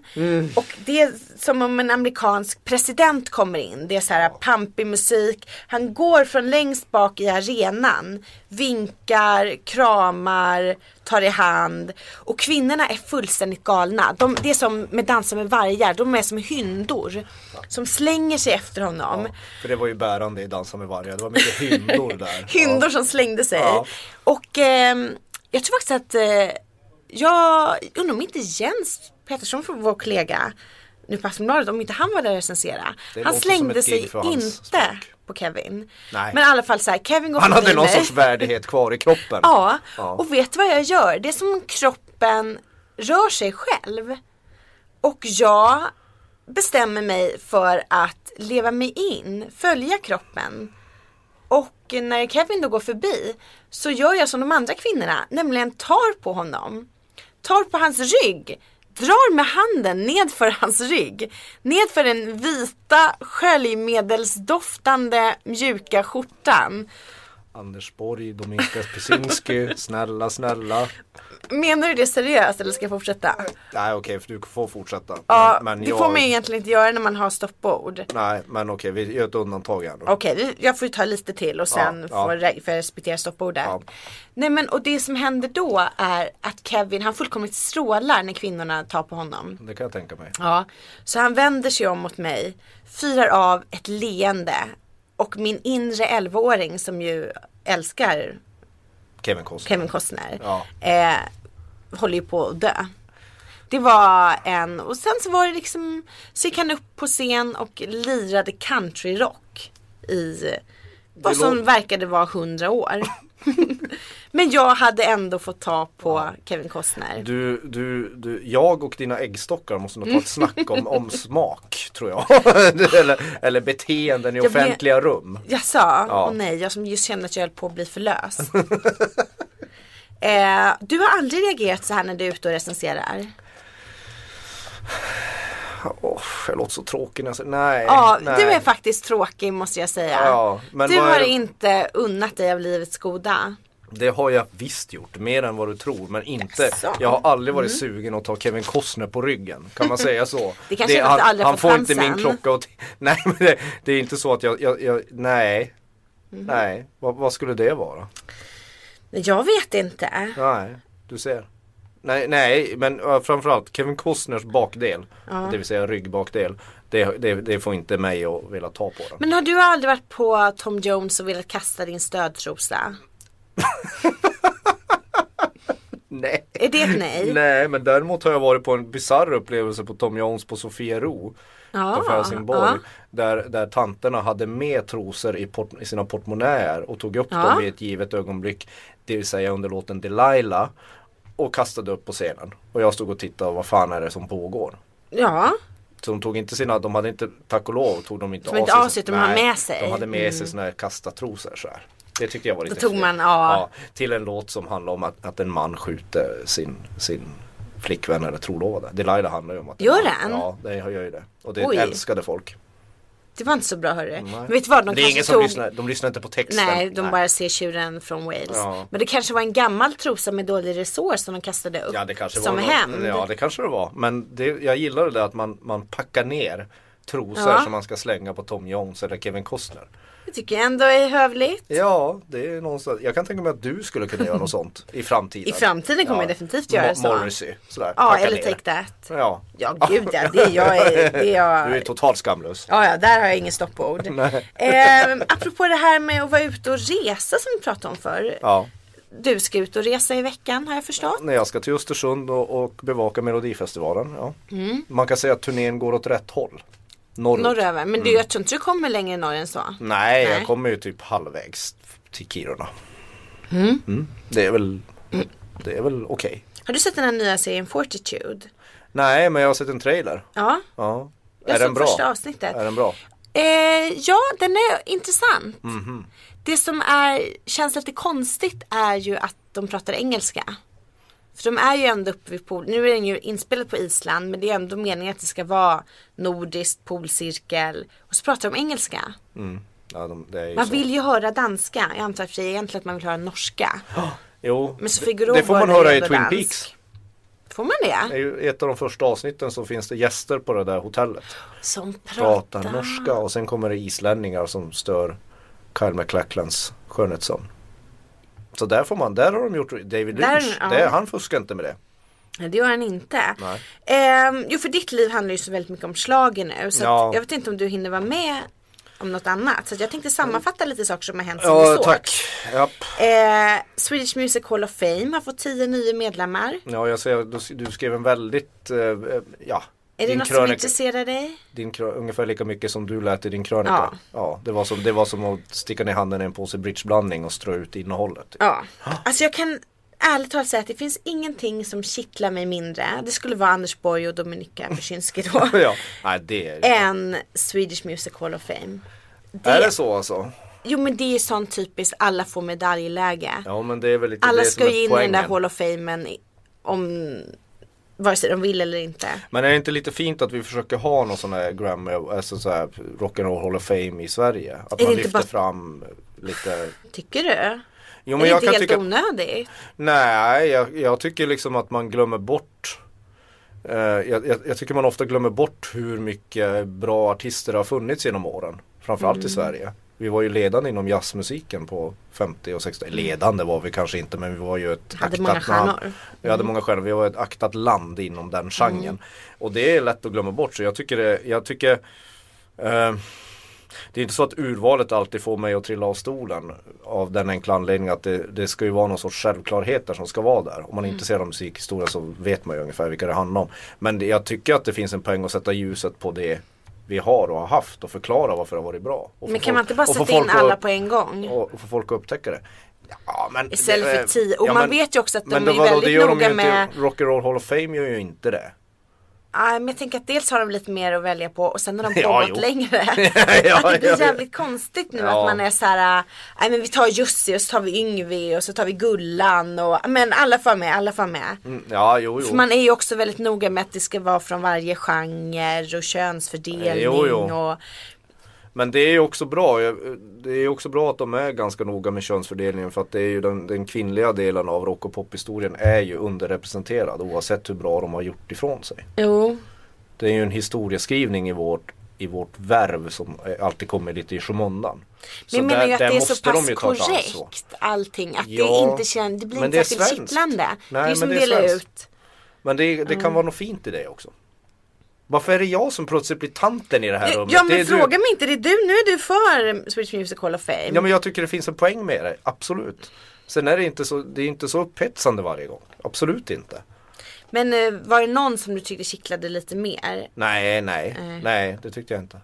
Speaker 2: Och det är som om en amerikansk president kommer in. Det är så här pampig musik. Han går från längst bak i arenan. Vinkar, kramar, tar i hand. Och kvinnorna är fullständigt galna. De, det är som med Dansa med vargar, de är som hyndor. Som slänger sig efter honom.
Speaker 3: För det var ju bärande i Dansa med vargar. Det var mycket hyndor där.
Speaker 2: Hyndor
Speaker 3: Ja.
Speaker 2: som slängde sig.
Speaker 3: Ja.
Speaker 2: Och ehm, jag tror faktiskt att eh, jag undrar om inte Jens Pettersson, vår kollega nu på Aftonbladet, om inte han var där och recensera.
Speaker 3: Det
Speaker 2: Han
Speaker 3: låter som
Speaker 2: slängde
Speaker 3: ett
Speaker 2: sig
Speaker 3: gig för hans
Speaker 2: inte
Speaker 3: smak.
Speaker 2: på Kevin.
Speaker 3: Nej.
Speaker 2: Men i alla fall så här, Kevin går
Speaker 3: Han
Speaker 2: förbi
Speaker 3: hade någon
Speaker 2: mig.
Speaker 3: sorts värdighet kvar i kroppen.
Speaker 2: Ja,
Speaker 3: Ja.
Speaker 2: och vet du vad jag gör? Det är som om kroppen rör sig själv. Och jag bestämmer mig för att leva mig in, följa kroppen. Och när Kevin då går förbi så gör jag som de andra kvinnorna, nämligen tar på honom. Tar på hans rygg, drar med handen nedför hans rygg. Nedför den vita sköljmedelsdoftande mjuka skjortan.
Speaker 3: Anders Borg, Dominika Pisinski, snälla, snälla.
Speaker 2: Menar du det seriöst eller ska jag fortsätta?
Speaker 3: Nej okej, för du får fortsätta. Men-
Speaker 2: Ja,
Speaker 3: men
Speaker 2: det
Speaker 3: jag-
Speaker 2: får man ju egentligen inte göra när man har stoppord.
Speaker 3: Nej, men okej, vi gör ett undantag här då.
Speaker 2: Okej, vi- jag får ju ta lite till och sen
Speaker 3: Ja, ja.
Speaker 2: får re- för jag respektera stoppordet.
Speaker 3: Ja.
Speaker 2: Nej men och det som händer då är att Kevin, han fullkomligt strålar när kvinnorna tar på honom.
Speaker 3: Det kan jag tänka mig.
Speaker 2: Ja, så han vänder sig om mot mig, fyrar av ett leende och min inre 11-åring som ju älskar
Speaker 3: Kevin Costner.
Speaker 2: Kevin Costner
Speaker 3: Ja.
Speaker 2: eh, håller ju på att dö. Det var en, och sen så var det liksom, så gick han upp på scen och lirade countryrock i vad
Speaker 3: Det
Speaker 2: som
Speaker 3: låter-
Speaker 2: verkade vara hundra år. Men jag hade ändå fått ta på Kevin Costner.
Speaker 3: Du, du, du, jag och dina äggstockar måste nog ta ett snack om, om smak tror jag. eller, eller beteenden i
Speaker 2: Jag blir-
Speaker 3: offentliga rum.
Speaker 2: Jag sa,
Speaker 3: Ja.
Speaker 2: åh nej, jag som just kände att jag höll på att bli för lös. eh, du har aldrig reagerat så här när du är ute och recenserar?
Speaker 3: Åh, jag låter så tråkig när jag säger nej.
Speaker 2: Ja,
Speaker 3: nej.
Speaker 2: du är faktiskt tråkig måste jag säga.
Speaker 3: Ja, men
Speaker 2: du
Speaker 3: vad är
Speaker 2: har
Speaker 3: det-
Speaker 2: inte unnat dig av livets goda.
Speaker 3: Det har jag visst gjort, mer än vad du tror. Men inte,
Speaker 2: Jaså?
Speaker 3: jag har aldrig varit sugen att ta Kevin Costner på ryggen. Kan man säga så?
Speaker 2: Det kanske är för att du aldrig har
Speaker 3: han
Speaker 2: fått
Speaker 3: får inte min
Speaker 2: chansen.
Speaker 3: klocka och t- Nej, men det, det är inte så att jag, jag, jag nej. Nej, vad, vad skulle det vara?
Speaker 2: Men Jag vet inte.
Speaker 3: Nej, du ser. Nej, nej men ö, framförallt Kevin Costners bakdel, det vill säga ryggbakdel, det, det, det får inte mig att vilja ta på den.
Speaker 2: Men har du aldrig varit på Tom Jones och velat kasta din stödtrosa?
Speaker 3: Nej.
Speaker 2: Är det ett nej?
Speaker 3: Nej, men däremot har jag varit på en bizarr upplevelse på Tom Jones på Sofiero. utanför Helsingborg.
Speaker 2: ja.
Speaker 3: Där, där tanterna hade med trosor i, port, i sina portmonnäer och tog upp
Speaker 2: Ja.
Speaker 3: dem i ett givet ögonblick. Det vill säga under låten Delilah. Och kastade upp på scenen. Och jag stod och tittade, vad fan är det som pågår?
Speaker 2: Ja.
Speaker 3: Så de tog inte sina, de hade inte, tack och lov tog de inte
Speaker 2: De inte av sig, de hade
Speaker 3: nej,
Speaker 2: med sig. Mm.
Speaker 3: De hade med sig såna här kastatrosor så här. Det tyckte jag var lite
Speaker 2: tog
Speaker 3: fegt.
Speaker 2: man, ja.
Speaker 3: Till en låt som handlar om att, att en man skjuter sin, sin flickvän eller trolovade. Delilah handlar ju om att en
Speaker 2: Gör
Speaker 3: man-
Speaker 2: den?
Speaker 3: Ja, det gör ju det. Och det
Speaker 2: Oj.
Speaker 3: älskade folk.
Speaker 2: Det var inte så bra hörru.
Speaker 3: Nej.
Speaker 2: Men vet du vad, de
Speaker 3: det är
Speaker 2: kanske
Speaker 3: ingen
Speaker 2: tog...
Speaker 3: som lyssnar, de lyssnar inte på texten.
Speaker 2: Nej, de bara ser tjuren från Wales.
Speaker 3: Ja.
Speaker 2: Men det kanske var en gammal trosa med dålig resurs som de kastade upp
Speaker 3: Ja det kanske
Speaker 2: som
Speaker 3: var något-
Speaker 2: hämnd.
Speaker 3: Ja det kanske det var. Men det, jag gillar det där att man, man packar ner trosor
Speaker 2: Ja.
Speaker 3: som man ska slänga på Tom Jones eller Kevin Costner.
Speaker 2: Det tycker jag ändå är hövligt.
Speaker 3: Ja, det är någonstans. Jag kan tänka mig att du skulle kunna göra något sånt i framtiden.
Speaker 2: I framtiden kommer jag definitivt göra
Speaker 3: Mo-
Speaker 2: så.
Speaker 3: Morrissey, sådär.
Speaker 2: Ja,
Speaker 3: Packa
Speaker 2: eller
Speaker 3: ner.
Speaker 2: Take That.
Speaker 3: Ja.
Speaker 2: Ja, gud ja. Det är jag. är- Det är jag...
Speaker 3: Du är totalt skamlös.
Speaker 2: Ja, ja, där har jag ingen stoppord. eh, apropå det här med att vara ute och resa som vi pratade om förr.
Speaker 3: Ja. Mm.
Speaker 2: Du ska ut och resa i veckan har jag förstått.
Speaker 3: När jag ska till Östersund och, och bevaka Melodifestivalen. Ja.
Speaker 2: Mm.
Speaker 3: Man kan säga att turnén går åt rätt håll. Norrut.
Speaker 2: Norröver. Men
Speaker 3: Mm.
Speaker 2: du, jag tror inte du kommer längre norr än så.
Speaker 3: Nej,
Speaker 2: Nej.
Speaker 3: jag kommer ju typ halvvägs till Kiruna. Mm, Det är väl, det är väl okej.
Speaker 2: Har du sett den här nya serien Fortitude?
Speaker 3: Nej, men jag har sett en trailer.
Speaker 2: Ja.
Speaker 3: Ja.
Speaker 2: Jag
Speaker 3: Är
Speaker 2: såg
Speaker 3: den bra?
Speaker 2: första avsnittet.
Speaker 3: Är den bra?
Speaker 2: Eh, ja, den är intressant.
Speaker 3: Mhm.
Speaker 2: Det som är, känns lite konstigt är ju att de pratar engelska. För de är ju ändå uppe vid pool. Nu är den ju inspelad på Island men det är ändå meningen att det ska vara nordiskt, polcirkel. Och så pratar de engelska.
Speaker 3: Ja, de, det är ju
Speaker 2: Man
Speaker 3: så.
Speaker 2: vill ju höra danska. Jag antar att det är egentligen att man vill höra norska.
Speaker 3: Jo,
Speaker 2: Men så
Speaker 3: det-
Speaker 2: Figaro
Speaker 3: det får
Speaker 2: var
Speaker 3: man
Speaker 2: ju
Speaker 3: höra i
Speaker 2: ändå
Speaker 3: Twin
Speaker 2: dansk.
Speaker 3: Peaks.
Speaker 2: Får man
Speaker 3: Det
Speaker 2: det?
Speaker 3: är ju ett av de första avsnitten så finns det gäster på det där hotellet.
Speaker 2: Som pratar.
Speaker 3: Pratar norska och sen kommer det islänningar som stör Kyle MacLachlans skönhetssömn. Så där får man, där har de gjort David
Speaker 2: Där-
Speaker 3: Lynch.
Speaker 2: ja.
Speaker 3: det, han fuskar inte med det.
Speaker 2: Nej det gör han inte.
Speaker 3: Nej.
Speaker 2: Ehm, jo för ditt liv handlar ju så väldigt mycket om slagen nu. Så
Speaker 3: Ja.
Speaker 2: att jag vet inte om du hinner vara med om något annat. Så att jag tänkte sammanfatta lite saker som har hänt sen vi
Speaker 3: Ja,
Speaker 2: såg.
Speaker 3: tack. Japp.
Speaker 2: Ehm, Swedish Music Hall of Fame har fått 10 nya medlemmar.
Speaker 3: Ja, jag ser, du- du skrev en väldigt, eh, eh, ja.
Speaker 2: Är det
Speaker 3: din
Speaker 2: något som
Speaker 3: krönika-
Speaker 2: intresserar dig?
Speaker 3: din krö- ungefär lika mycket som du lät i din krönika.
Speaker 2: Ja.
Speaker 3: Ja. det, var som, det var som att sticka ner handen i en påse bridgeblandning och strö ut innehållet.
Speaker 2: Ja. Alltså jag kan ärligt talat säga att det finns ingenting som kittlar mig mindre. Det skulle vara Anders Borg och Dominika Persinski då.
Speaker 3: ja. Nej, det är,
Speaker 2: än Swedish Music Hall of Fame.
Speaker 3: är det så alltså?
Speaker 2: Jo men det är sånt typiskt alla får medaljläge.
Speaker 3: Ja, men det är väl lite
Speaker 2: Alla
Speaker 3: det som
Speaker 2: ska
Speaker 3: är
Speaker 2: ju in i den
Speaker 3: poängen.
Speaker 2: där Hall of Famen i- om vare sig de vill eller inte.
Speaker 3: Men är det inte lite fint att vi försöker ha någon sån här Grammy, alltså så här Rock'n'Roll Hall of Fame i Sverige? Att
Speaker 2: det
Speaker 3: man
Speaker 2: inte
Speaker 3: lyfter
Speaker 2: bara-
Speaker 3: fram lite
Speaker 2: Tycker du? är
Speaker 3: Jo men
Speaker 2: det
Speaker 3: jag
Speaker 2: inte
Speaker 3: kan
Speaker 2: helt
Speaker 3: tycka
Speaker 2: onödigt?
Speaker 3: Nej, jag, jag tycker liksom att man glömmer bort eh, jag, jag, jag tycker man ofta glömmer bort hur mycket bra artister har funnits genom åren. Framförallt
Speaker 2: Mm.
Speaker 3: i Sverige. Vi var ju ledande inom jazzmusiken på 50 och 60 Ledande var vi kanske inte men vi var ju ett
Speaker 2: Hade
Speaker 3: aktat
Speaker 2: många
Speaker 3: namn.
Speaker 2: stjärnor. Mm.
Speaker 3: Vi hade många stjärnor. Vi var ett aktat land inom den genren. Och det är lätt att glömma bort så jag tycker det, jag tycker eh, det är inte så att urvalet alltid får mig att trilla av stolen av den enkla anledningen att det, det ska ju vara någon sorts självklarheter som ska vara där. Om
Speaker 2: Mm.
Speaker 3: man är intresserad av musikhistoria så vet man ju ungefär vilka det handlar om. Men det- jag tycker att det finns en poäng att sätta ljuset på det vi har och har haft och förklara varför det har varit bra. Och få
Speaker 2: Men kan
Speaker 3: folk-
Speaker 2: man inte bara
Speaker 3: och få
Speaker 2: sätta in
Speaker 3: folk att-
Speaker 2: alla på en gång?
Speaker 3: Och och få folk att upptäcka det. Ja, men,
Speaker 2: Istället för
Speaker 3: eh,
Speaker 2: tio. Och
Speaker 3: ja,
Speaker 2: man
Speaker 3: men-
Speaker 2: vet ju också att de
Speaker 3: men
Speaker 2: är
Speaker 3: det var-
Speaker 2: väldigt
Speaker 3: det gör
Speaker 2: noga
Speaker 3: de ju
Speaker 2: med
Speaker 3: inte, Rock'n'Roll Hall of Fame gör ju inte det.
Speaker 2: Ah, men jag tänker att dels har de lite mer att välja på och sen har de
Speaker 3: Ja,
Speaker 2: pågått
Speaker 3: jo.
Speaker 2: längre.
Speaker 3: Ja,
Speaker 2: att det blir
Speaker 3: ja, ja.
Speaker 2: jävligt konstigt nu
Speaker 3: Ja.
Speaker 2: att man är så här, nej men vi tar Jussi och så tar vi Yngve och så tar vi Gullan och men alla får med, alla får med.
Speaker 3: Mm, Ja, jo, jo.
Speaker 2: För man är ju också väldigt noga med att det ska vara från varje genre och könsfördelning
Speaker 3: Eh, Jo, jo.
Speaker 2: och
Speaker 3: Men det är ju också bra. Jag- Det är ju också bra att de är ganska noga med könsfördelningen för att det är ju den, den kvinnliga delen av rock och pophistorien är ju underrepresenterad oavsett hur bra de har gjort ifrån sig.
Speaker 2: Jo,
Speaker 3: Det är ju en historieskrivning i vårt, i vårt värv som eh, alltid kommer lite i
Speaker 2: men
Speaker 3: skymundan.
Speaker 2: jag menar ju att det är så
Speaker 3: måste
Speaker 2: pass
Speaker 3: ju ta ett ansvar.
Speaker 2: korrekt allting att det
Speaker 3: Ja,
Speaker 2: inte känns, det blir
Speaker 3: men
Speaker 2: inte
Speaker 3: det är
Speaker 2: särskilt
Speaker 3: svenskt.
Speaker 2: kittlande. det är
Speaker 3: Nej,
Speaker 2: ju
Speaker 3: men
Speaker 2: som
Speaker 3: det är
Speaker 2: delar
Speaker 3: svenskt.
Speaker 2: ut
Speaker 3: Men det, det
Speaker 2: Mm.
Speaker 3: kan vara något fint i det också. Varför är det jag som plötsligt blir tanten i det här rummet?
Speaker 2: Ja men
Speaker 3: det är
Speaker 2: fråga
Speaker 3: du...
Speaker 2: mig inte, det är du, nu är du för Swedish Music Hall of Fame.
Speaker 3: Ja men jag tycker det finns en poäng med det, absolut. Sen är det inte så, det är inte så upphetsande varje gång. Absolut inte.
Speaker 2: Men eh, var det någon som du tyckte kittlade lite mer?
Speaker 3: Nej, nej,
Speaker 2: Nej.
Speaker 3: nej, det tyckte jag inte.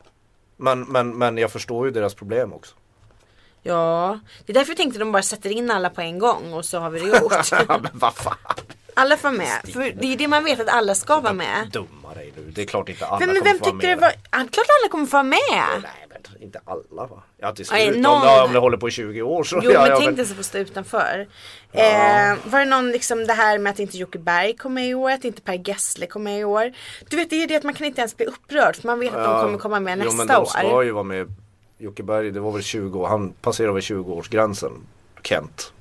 Speaker 3: Men, men, men jag förstår ju deras problem också.
Speaker 2: Ja, det är därför jag tänkte de bara sätter in alla på en gång och så har vi det gjort.
Speaker 3: Ja, men vad fan.
Speaker 2: Alla får med. För det är ju det man vet att alla ska vara med.
Speaker 3: Dumma dig nu. Det är klart inte alla
Speaker 2: Vem, men
Speaker 3: kommer
Speaker 2: vem
Speaker 3: få vara
Speaker 2: tyckte det
Speaker 3: med.
Speaker 2: var... Ja, klart alla kommer få vara med.
Speaker 3: Nej men inte alla va? Ja till
Speaker 2: Nej,
Speaker 3: slut.
Speaker 2: någon-
Speaker 3: Om, det, om det håller på i 20 år så.
Speaker 2: Jo
Speaker 3: ja,
Speaker 2: men
Speaker 3: ja,
Speaker 2: tänk dig så få stå utanför. Eh, var det någon liksom det här med att inte Jocke Berg kom med i år, att inte Per Gessle kom med i år. Du vet det är ju det att man kan inte ens bli upprörd för man vet att de kommer komma med
Speaker 3: Jo men
Speaker 2: nästa
Speaker 3: de ska
Speaker 2: år.
Speaker 3: ju vara med. Jocke Berg, det var väl 20 år. Han passerade väl 20-årsgränsen. Kent.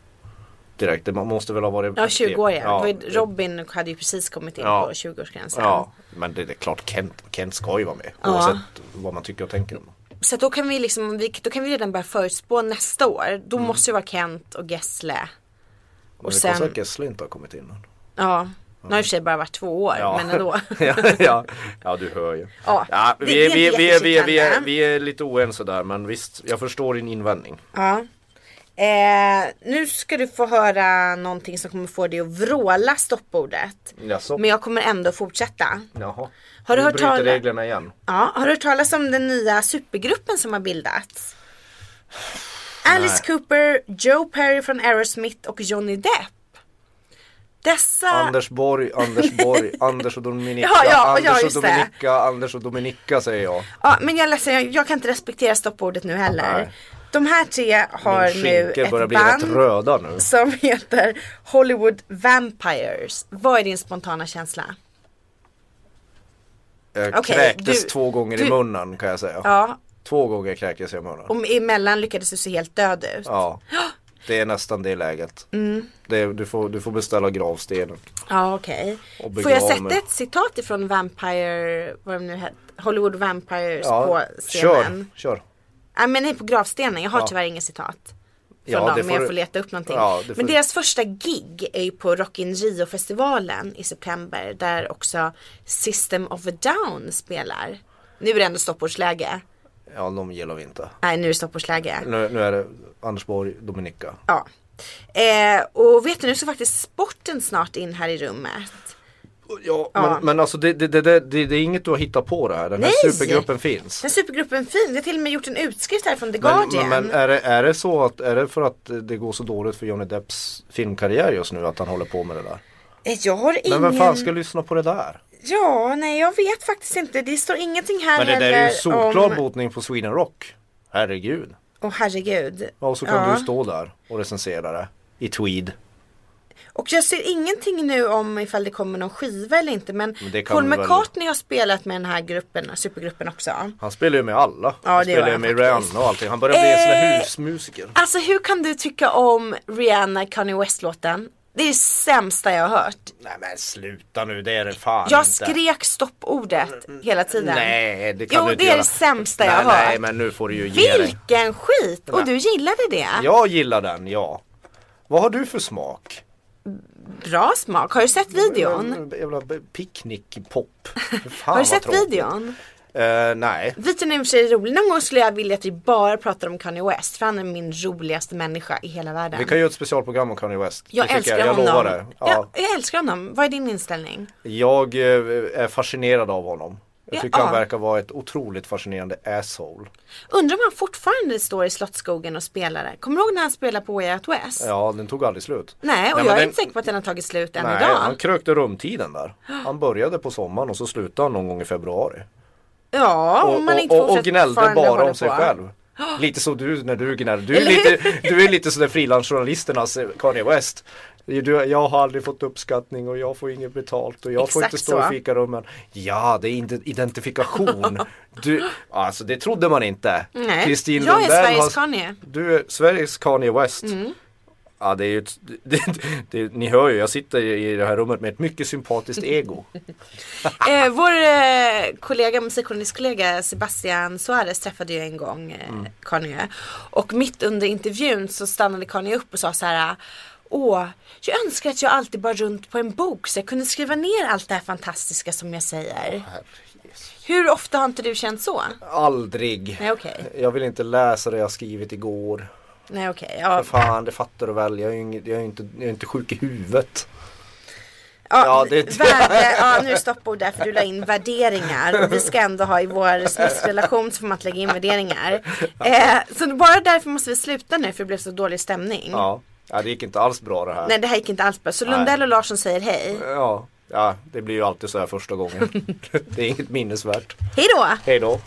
Speaker 3: Direkt. Det man måste väl ha varit.
Speaker 2: Ja 20 år ja. Det var ju-
Speaker 3: det-
Speaker 2: Robin hade ju precis kommit in
Speaker 3: Ja.
Speaker 2: på 20-årsgränsen.
Speaker 3: Ja, men det, det är klart Kent, Kent ska ju vara med. Oavsett vad man tycker och tänker om.
Speaker 2: Så att då kan vi liksom, vi, då kan vi redan börja förutspå nästa år. Då
Speaker 3: Mm.
Speaker 2: måste det vara Kent och Gessle.
Speaker 3: Och det
Speaker 2: sen-
Speaker 3: sen... kostar att Gessle inte har kommit in. än.
Speaker 2: Ja. Nu har det i och för sig bara varit två år men ändå.
Speaker 3: ja, ja. ja, du hör ju.
Speaker 2: Ja, det-
Speaker 3: vi, är,
Speaker 2: det
Speaker 3: vi,
Speaker 2: vet
Speaker 3: är- vi,
Speaker 2: jag
Speaker 3: är- vi, är- vi, är,
Speaker 2: fortfarande.
Speaker 3: vi är lite oense där men visst, jag förstår din invändning.
Speaker 2: Ja. Eh, nu ska du få höra någonting som kommer få dig att vråla stoppordet.
Speaker 3: Jaså?
Speaker 2: Men jag kommer ändå fortsätta.
Speaker 3: Jaha.
Speaker 2: Har du
Speaker 3: Nu
Speaker 2: hört
Speaker 3: bryter
Speaker 2: talas-
Speaker 3: reglerna igen.
Speaker 2: Ja, har du hört talas om den nya supergruppen som har bildats? Alice Cooper, Joe Perry från Aerosmith och Johnny Depp. Dessa...
Speaker 3: Anders Borg, Anders Borg, Anders och Dominika,
Speaker 2: Ja, ja, ja,
Speaker 3: Anders och
Speaker 2: just det.
Speaker 3: Dominika, Anders och Dominika säger jag.
Speaker 2: Ja, men jag är ledsen, jag, jag kan inte respektera stoppordet nu heller.
Speaker 3: Nej.
Speaker 2: De här tre har
Speaker 3: Min
Speaker 2: nu
Speaker 3: skinkor
Speaker 2: ett
Speaker 3: börjar
Speaker 2: band.
Speaker 3: bli rätt röda nu.
Speaker 2: som heter Hollywood Vampires. Vad är din spontana känsla?
Speaker 3: Jag
Speaker 2: Okej,
Speaker 3: kräktes
Speaker 2: du-
Speaker 3: två gånger
Speaker 2: du-
Speaker 3: i munnen kan jag säga.
Speaker 2: Ja, Oh.
Speaker 3: Två gånger kräktes jag i munnen.
Speaker 2: och emellan lyckades du se helt död ut.
Speaker 3: Ja, det är nästan det läget.
Speaker 2: Mm.
Speaker 3: Det, du, får, du får beställa gravstenen.
Speaker 2: Ja, okej.
Speaker 3: Och begrav
Speaker 2: Får jag sätta
Speaker 3: mig.
Speaker 2: ett citat ifrån Vampire, vad de nu hette, Hollywood Vampires
Speaker 3: Ja,
Speaker 2: på
Speaker 3: kör,
Speaker 2: scenen?
Speaker 3: kör.
Speaker 2: Nej men nej på gravstenen, jag har
Speaker 3: Ja.
Speaker 2: tyvärr inget citat. Från
Speaker 3: Ja,
Speaker 2: dem,
Speaker 3: det
Speaker 2: men
Speaker 3: får
Speaker 2: jag
Speaker 3: du-
Speaker 2: får leta upp någonting.
Speaker 3: Ja, det får
Speaker 2: Men
Speaker 3: du-
Speaker 2: deras första gig är ju på Rock in Rio festivalen i september där också System of a Down spelar. Nu är det ändå stoppordsläge.
Speaker 3: Ja, de gillar vi inte.
Speaker 2: Nej nu är det stoppordsläge.
Speaker 3: Nu, nu är det Anders Borg, Dominika.
Speaker 2: Ja. Eh, och vet du, nu ska faktiskt sporten snart in här i rummet.
Speaker 3: Ja, men, men alltså det, det, det, det, det, det är inget du har hittat på det här. Den här
Speaker 2: Nej!
Speaker 3: supergruppen finns.
Speaker 2: Den supergruppen fin, vi har till och med gjort en utskrift här från The
Speaker 3: Men, men-
Speaker 2: Guardian.
Speaker 3: men är, det, är det så att, är det för att det går så dåligt för Johnny Depps filmkarriär just nu att han håller på med det där?
Speaker 2: Eh, Jag har ingen...
Speaker 3: Men vem fan ska lyssna på det där?
Speaker 2: Ja, nej jag vet faktiskt inte. Det står ingenting här
Speaker 3: Men det där är ju en solklar
Speaker 2: om...
Speaker 3: botning på Sweden Rock. Herregud.
Speaker 2: Åh herregud.
Speaker 3: Ja, och så kan
Speaker 2: Ja.
Speaker 3: du stå där och recensera det i tweed.
Speaker 2: Och jag ser ingenting nu om ifall det kommer någon skiva eller inte. Men,
Speaker 3: Men det kan
Speaker 2: Paul
Speaker 3: vi väl-
Speaker 2: McCartney har spelat med den här gruppen, supergruppen också.
Speaker 3: Han spelar ju med alla.
Speaker 2: Ja, det
Speaker 3: han
Speaker 2: gör
Speaker 3: spelar ju
Speaker 2: han
Speaker 3: med
Speaker 2: faktiskt.
Speaker 3: Rihanna och allting. Han börjar bli en sån
Speaker 2: Eh,
Speaker 3: där husmusiker.
Speaker 2: Alltså hur kan du tycka om Rihanna Kanye West låten? Det är det sämsta jag har hört.
Speaker 3: Nej men sluta nu, det är det fan
Speaker 2: Jag
Speaker 3: inte.
Speaker 2: skrek stoppordet hela tiden.
Speaker 3: Nej det kan
Speaker 2: Jo,
Speaker 3: du inte
Speaker 2: det är
Speaker 3: göra.
Speaker 2: det sämsta jag
Speaker 3: nej,
Speaker 2: har hört.
Speaker 3: Nej men nu får du ju ge dig.
Speaker 2: Vilken skit! Och
Speaker 3: Nej.
Speaker 2: du gillade det.
Speaker 3: Jag gillar den, ja. Vad har du för smak?
Speaker 2: Bra smak. Har du sett videon?
Speaker 3: Jävla picknickpop.
Speaker 2: Har du sett videon?
Speaker 3: Uh, nej.
Speaker 2: Videon är i och för sig rolig. Någon gång skulle jag vilja att vi bara pratar om Kanye West. För han är min roligaste människa i hela världen.
Speaker 3: Vi kan göra ett specialprogram om Kanye West.
Speaker 2: jag
Speaker 3: Det tycker
Speaker 2: älskar
Speaker 3: jag. jag
Speaker 2: honom.
Speaker 3: Lovar det. Ja.
Speaker 2: Jag, jag älskar honom. Vad är din inställning?
Speaker 3: Jag eh, är fascinerad av honom. Jag
Speaker 2: Ja.
Speaker 3: tycker han verkar vara ett otroligt fascinerande asshole.
Speaker 2: Undrar om han fortfarande står i Slottsskogen och spelar där. Kommer du ihåg när han spelade på Way Out West?
Speaker 3: Ja, den tog aldrig slut.
Speaker 2: Nej, och
Speaker 3: men
Speaker 2: jag är
Speaker 3: den-
Speaker 2: inte säker på att den har tagit slut än
Speaker 3: Nej,
Speaker 2: idag.
Speaker 3: han krökte rumtiden där. Han började på sommaren och så slutade han någon gång i februari.
Speaker 2: Ja,
Speaker 3: och,
Speaker 2: om man inte
Speaker 3: och, och
Speaker 2: fortsätter-
Speaker 3: gnällde
Speaker 2: fortfarande
Speaker 3: bara
Speaker 2: håller
Speaker 3: om sig
Speaker 2: på.
Speaker 3: själv. Lite som du när du gnäller. Du är lite, du är lite sådär frilansjournalisternas Kanye West. Du, jag har aldrig fått uppskattning och jag får inget betalt och jag får
Speaker 2: Exakt
Speaker 3: inte stå
Speaker 2: så.
Speaker 3: i fikarummen. Ja, det är inte identifikation. Du, alltså det trodde man inte.
Speaker 2: Nej,
Speaker 3: Kristin
Speaker 2: jag är
Speaker 3: Lundell
Speaker 2: Sveriges Kanye. Mm.
Speaker 3: Du är Sveriges Kanye West. Ja, det är ju ett, det, det, ni hör ju, jag sitter i det här rummet med ett mycket sympatiskt ego.
Speaker 2: Eh, vår eh, kollega, musikjournalistkollega Sebastian Suarez träffade ju en gång eh, Kanye. Och mitt under intervjun så stannade Kanye upp och sa så här. Åh, jag önskar att jag alltid bara runt på en bok så jag kunde skriva ner allt det här fantastiska som jag säger. Hur ofta har inte du känt så?
Speaker 3: Aldrig.
Speaker 2: Nej, okej.
Speaker 3: Jag vill inte läsa det jag skrivit igår.
Speaker 2: Nej okej, ja.
Speaker 3: För fan, det fattar du väl. Jag är ju inget- jag är ju inte, jag är inte sjuk i huvudet.
Speaker 2: Ja,
Speaker 3: Ja, det-
Speaker 2: värde, ja nu är det stoppord där för du la in värderingar. Och vi ska ändå ha i vår snuskrelation så får man inte lägga in värderingar. Eh, så bara därför måste vi sluta nu för det blev så dålig stämning.
Speaker 3: Ja. Ja, det gick inte alls bra det här.
Speaker 2: Nej det här gick inte alls bra. Så Lundell och Larsson säger hej.
Speaker 3: Ja, ja, det blir ju alltid så här första gången. det är inget minnesvärt.
Speaker 2: Hej då!
Speaker 3: Hej då.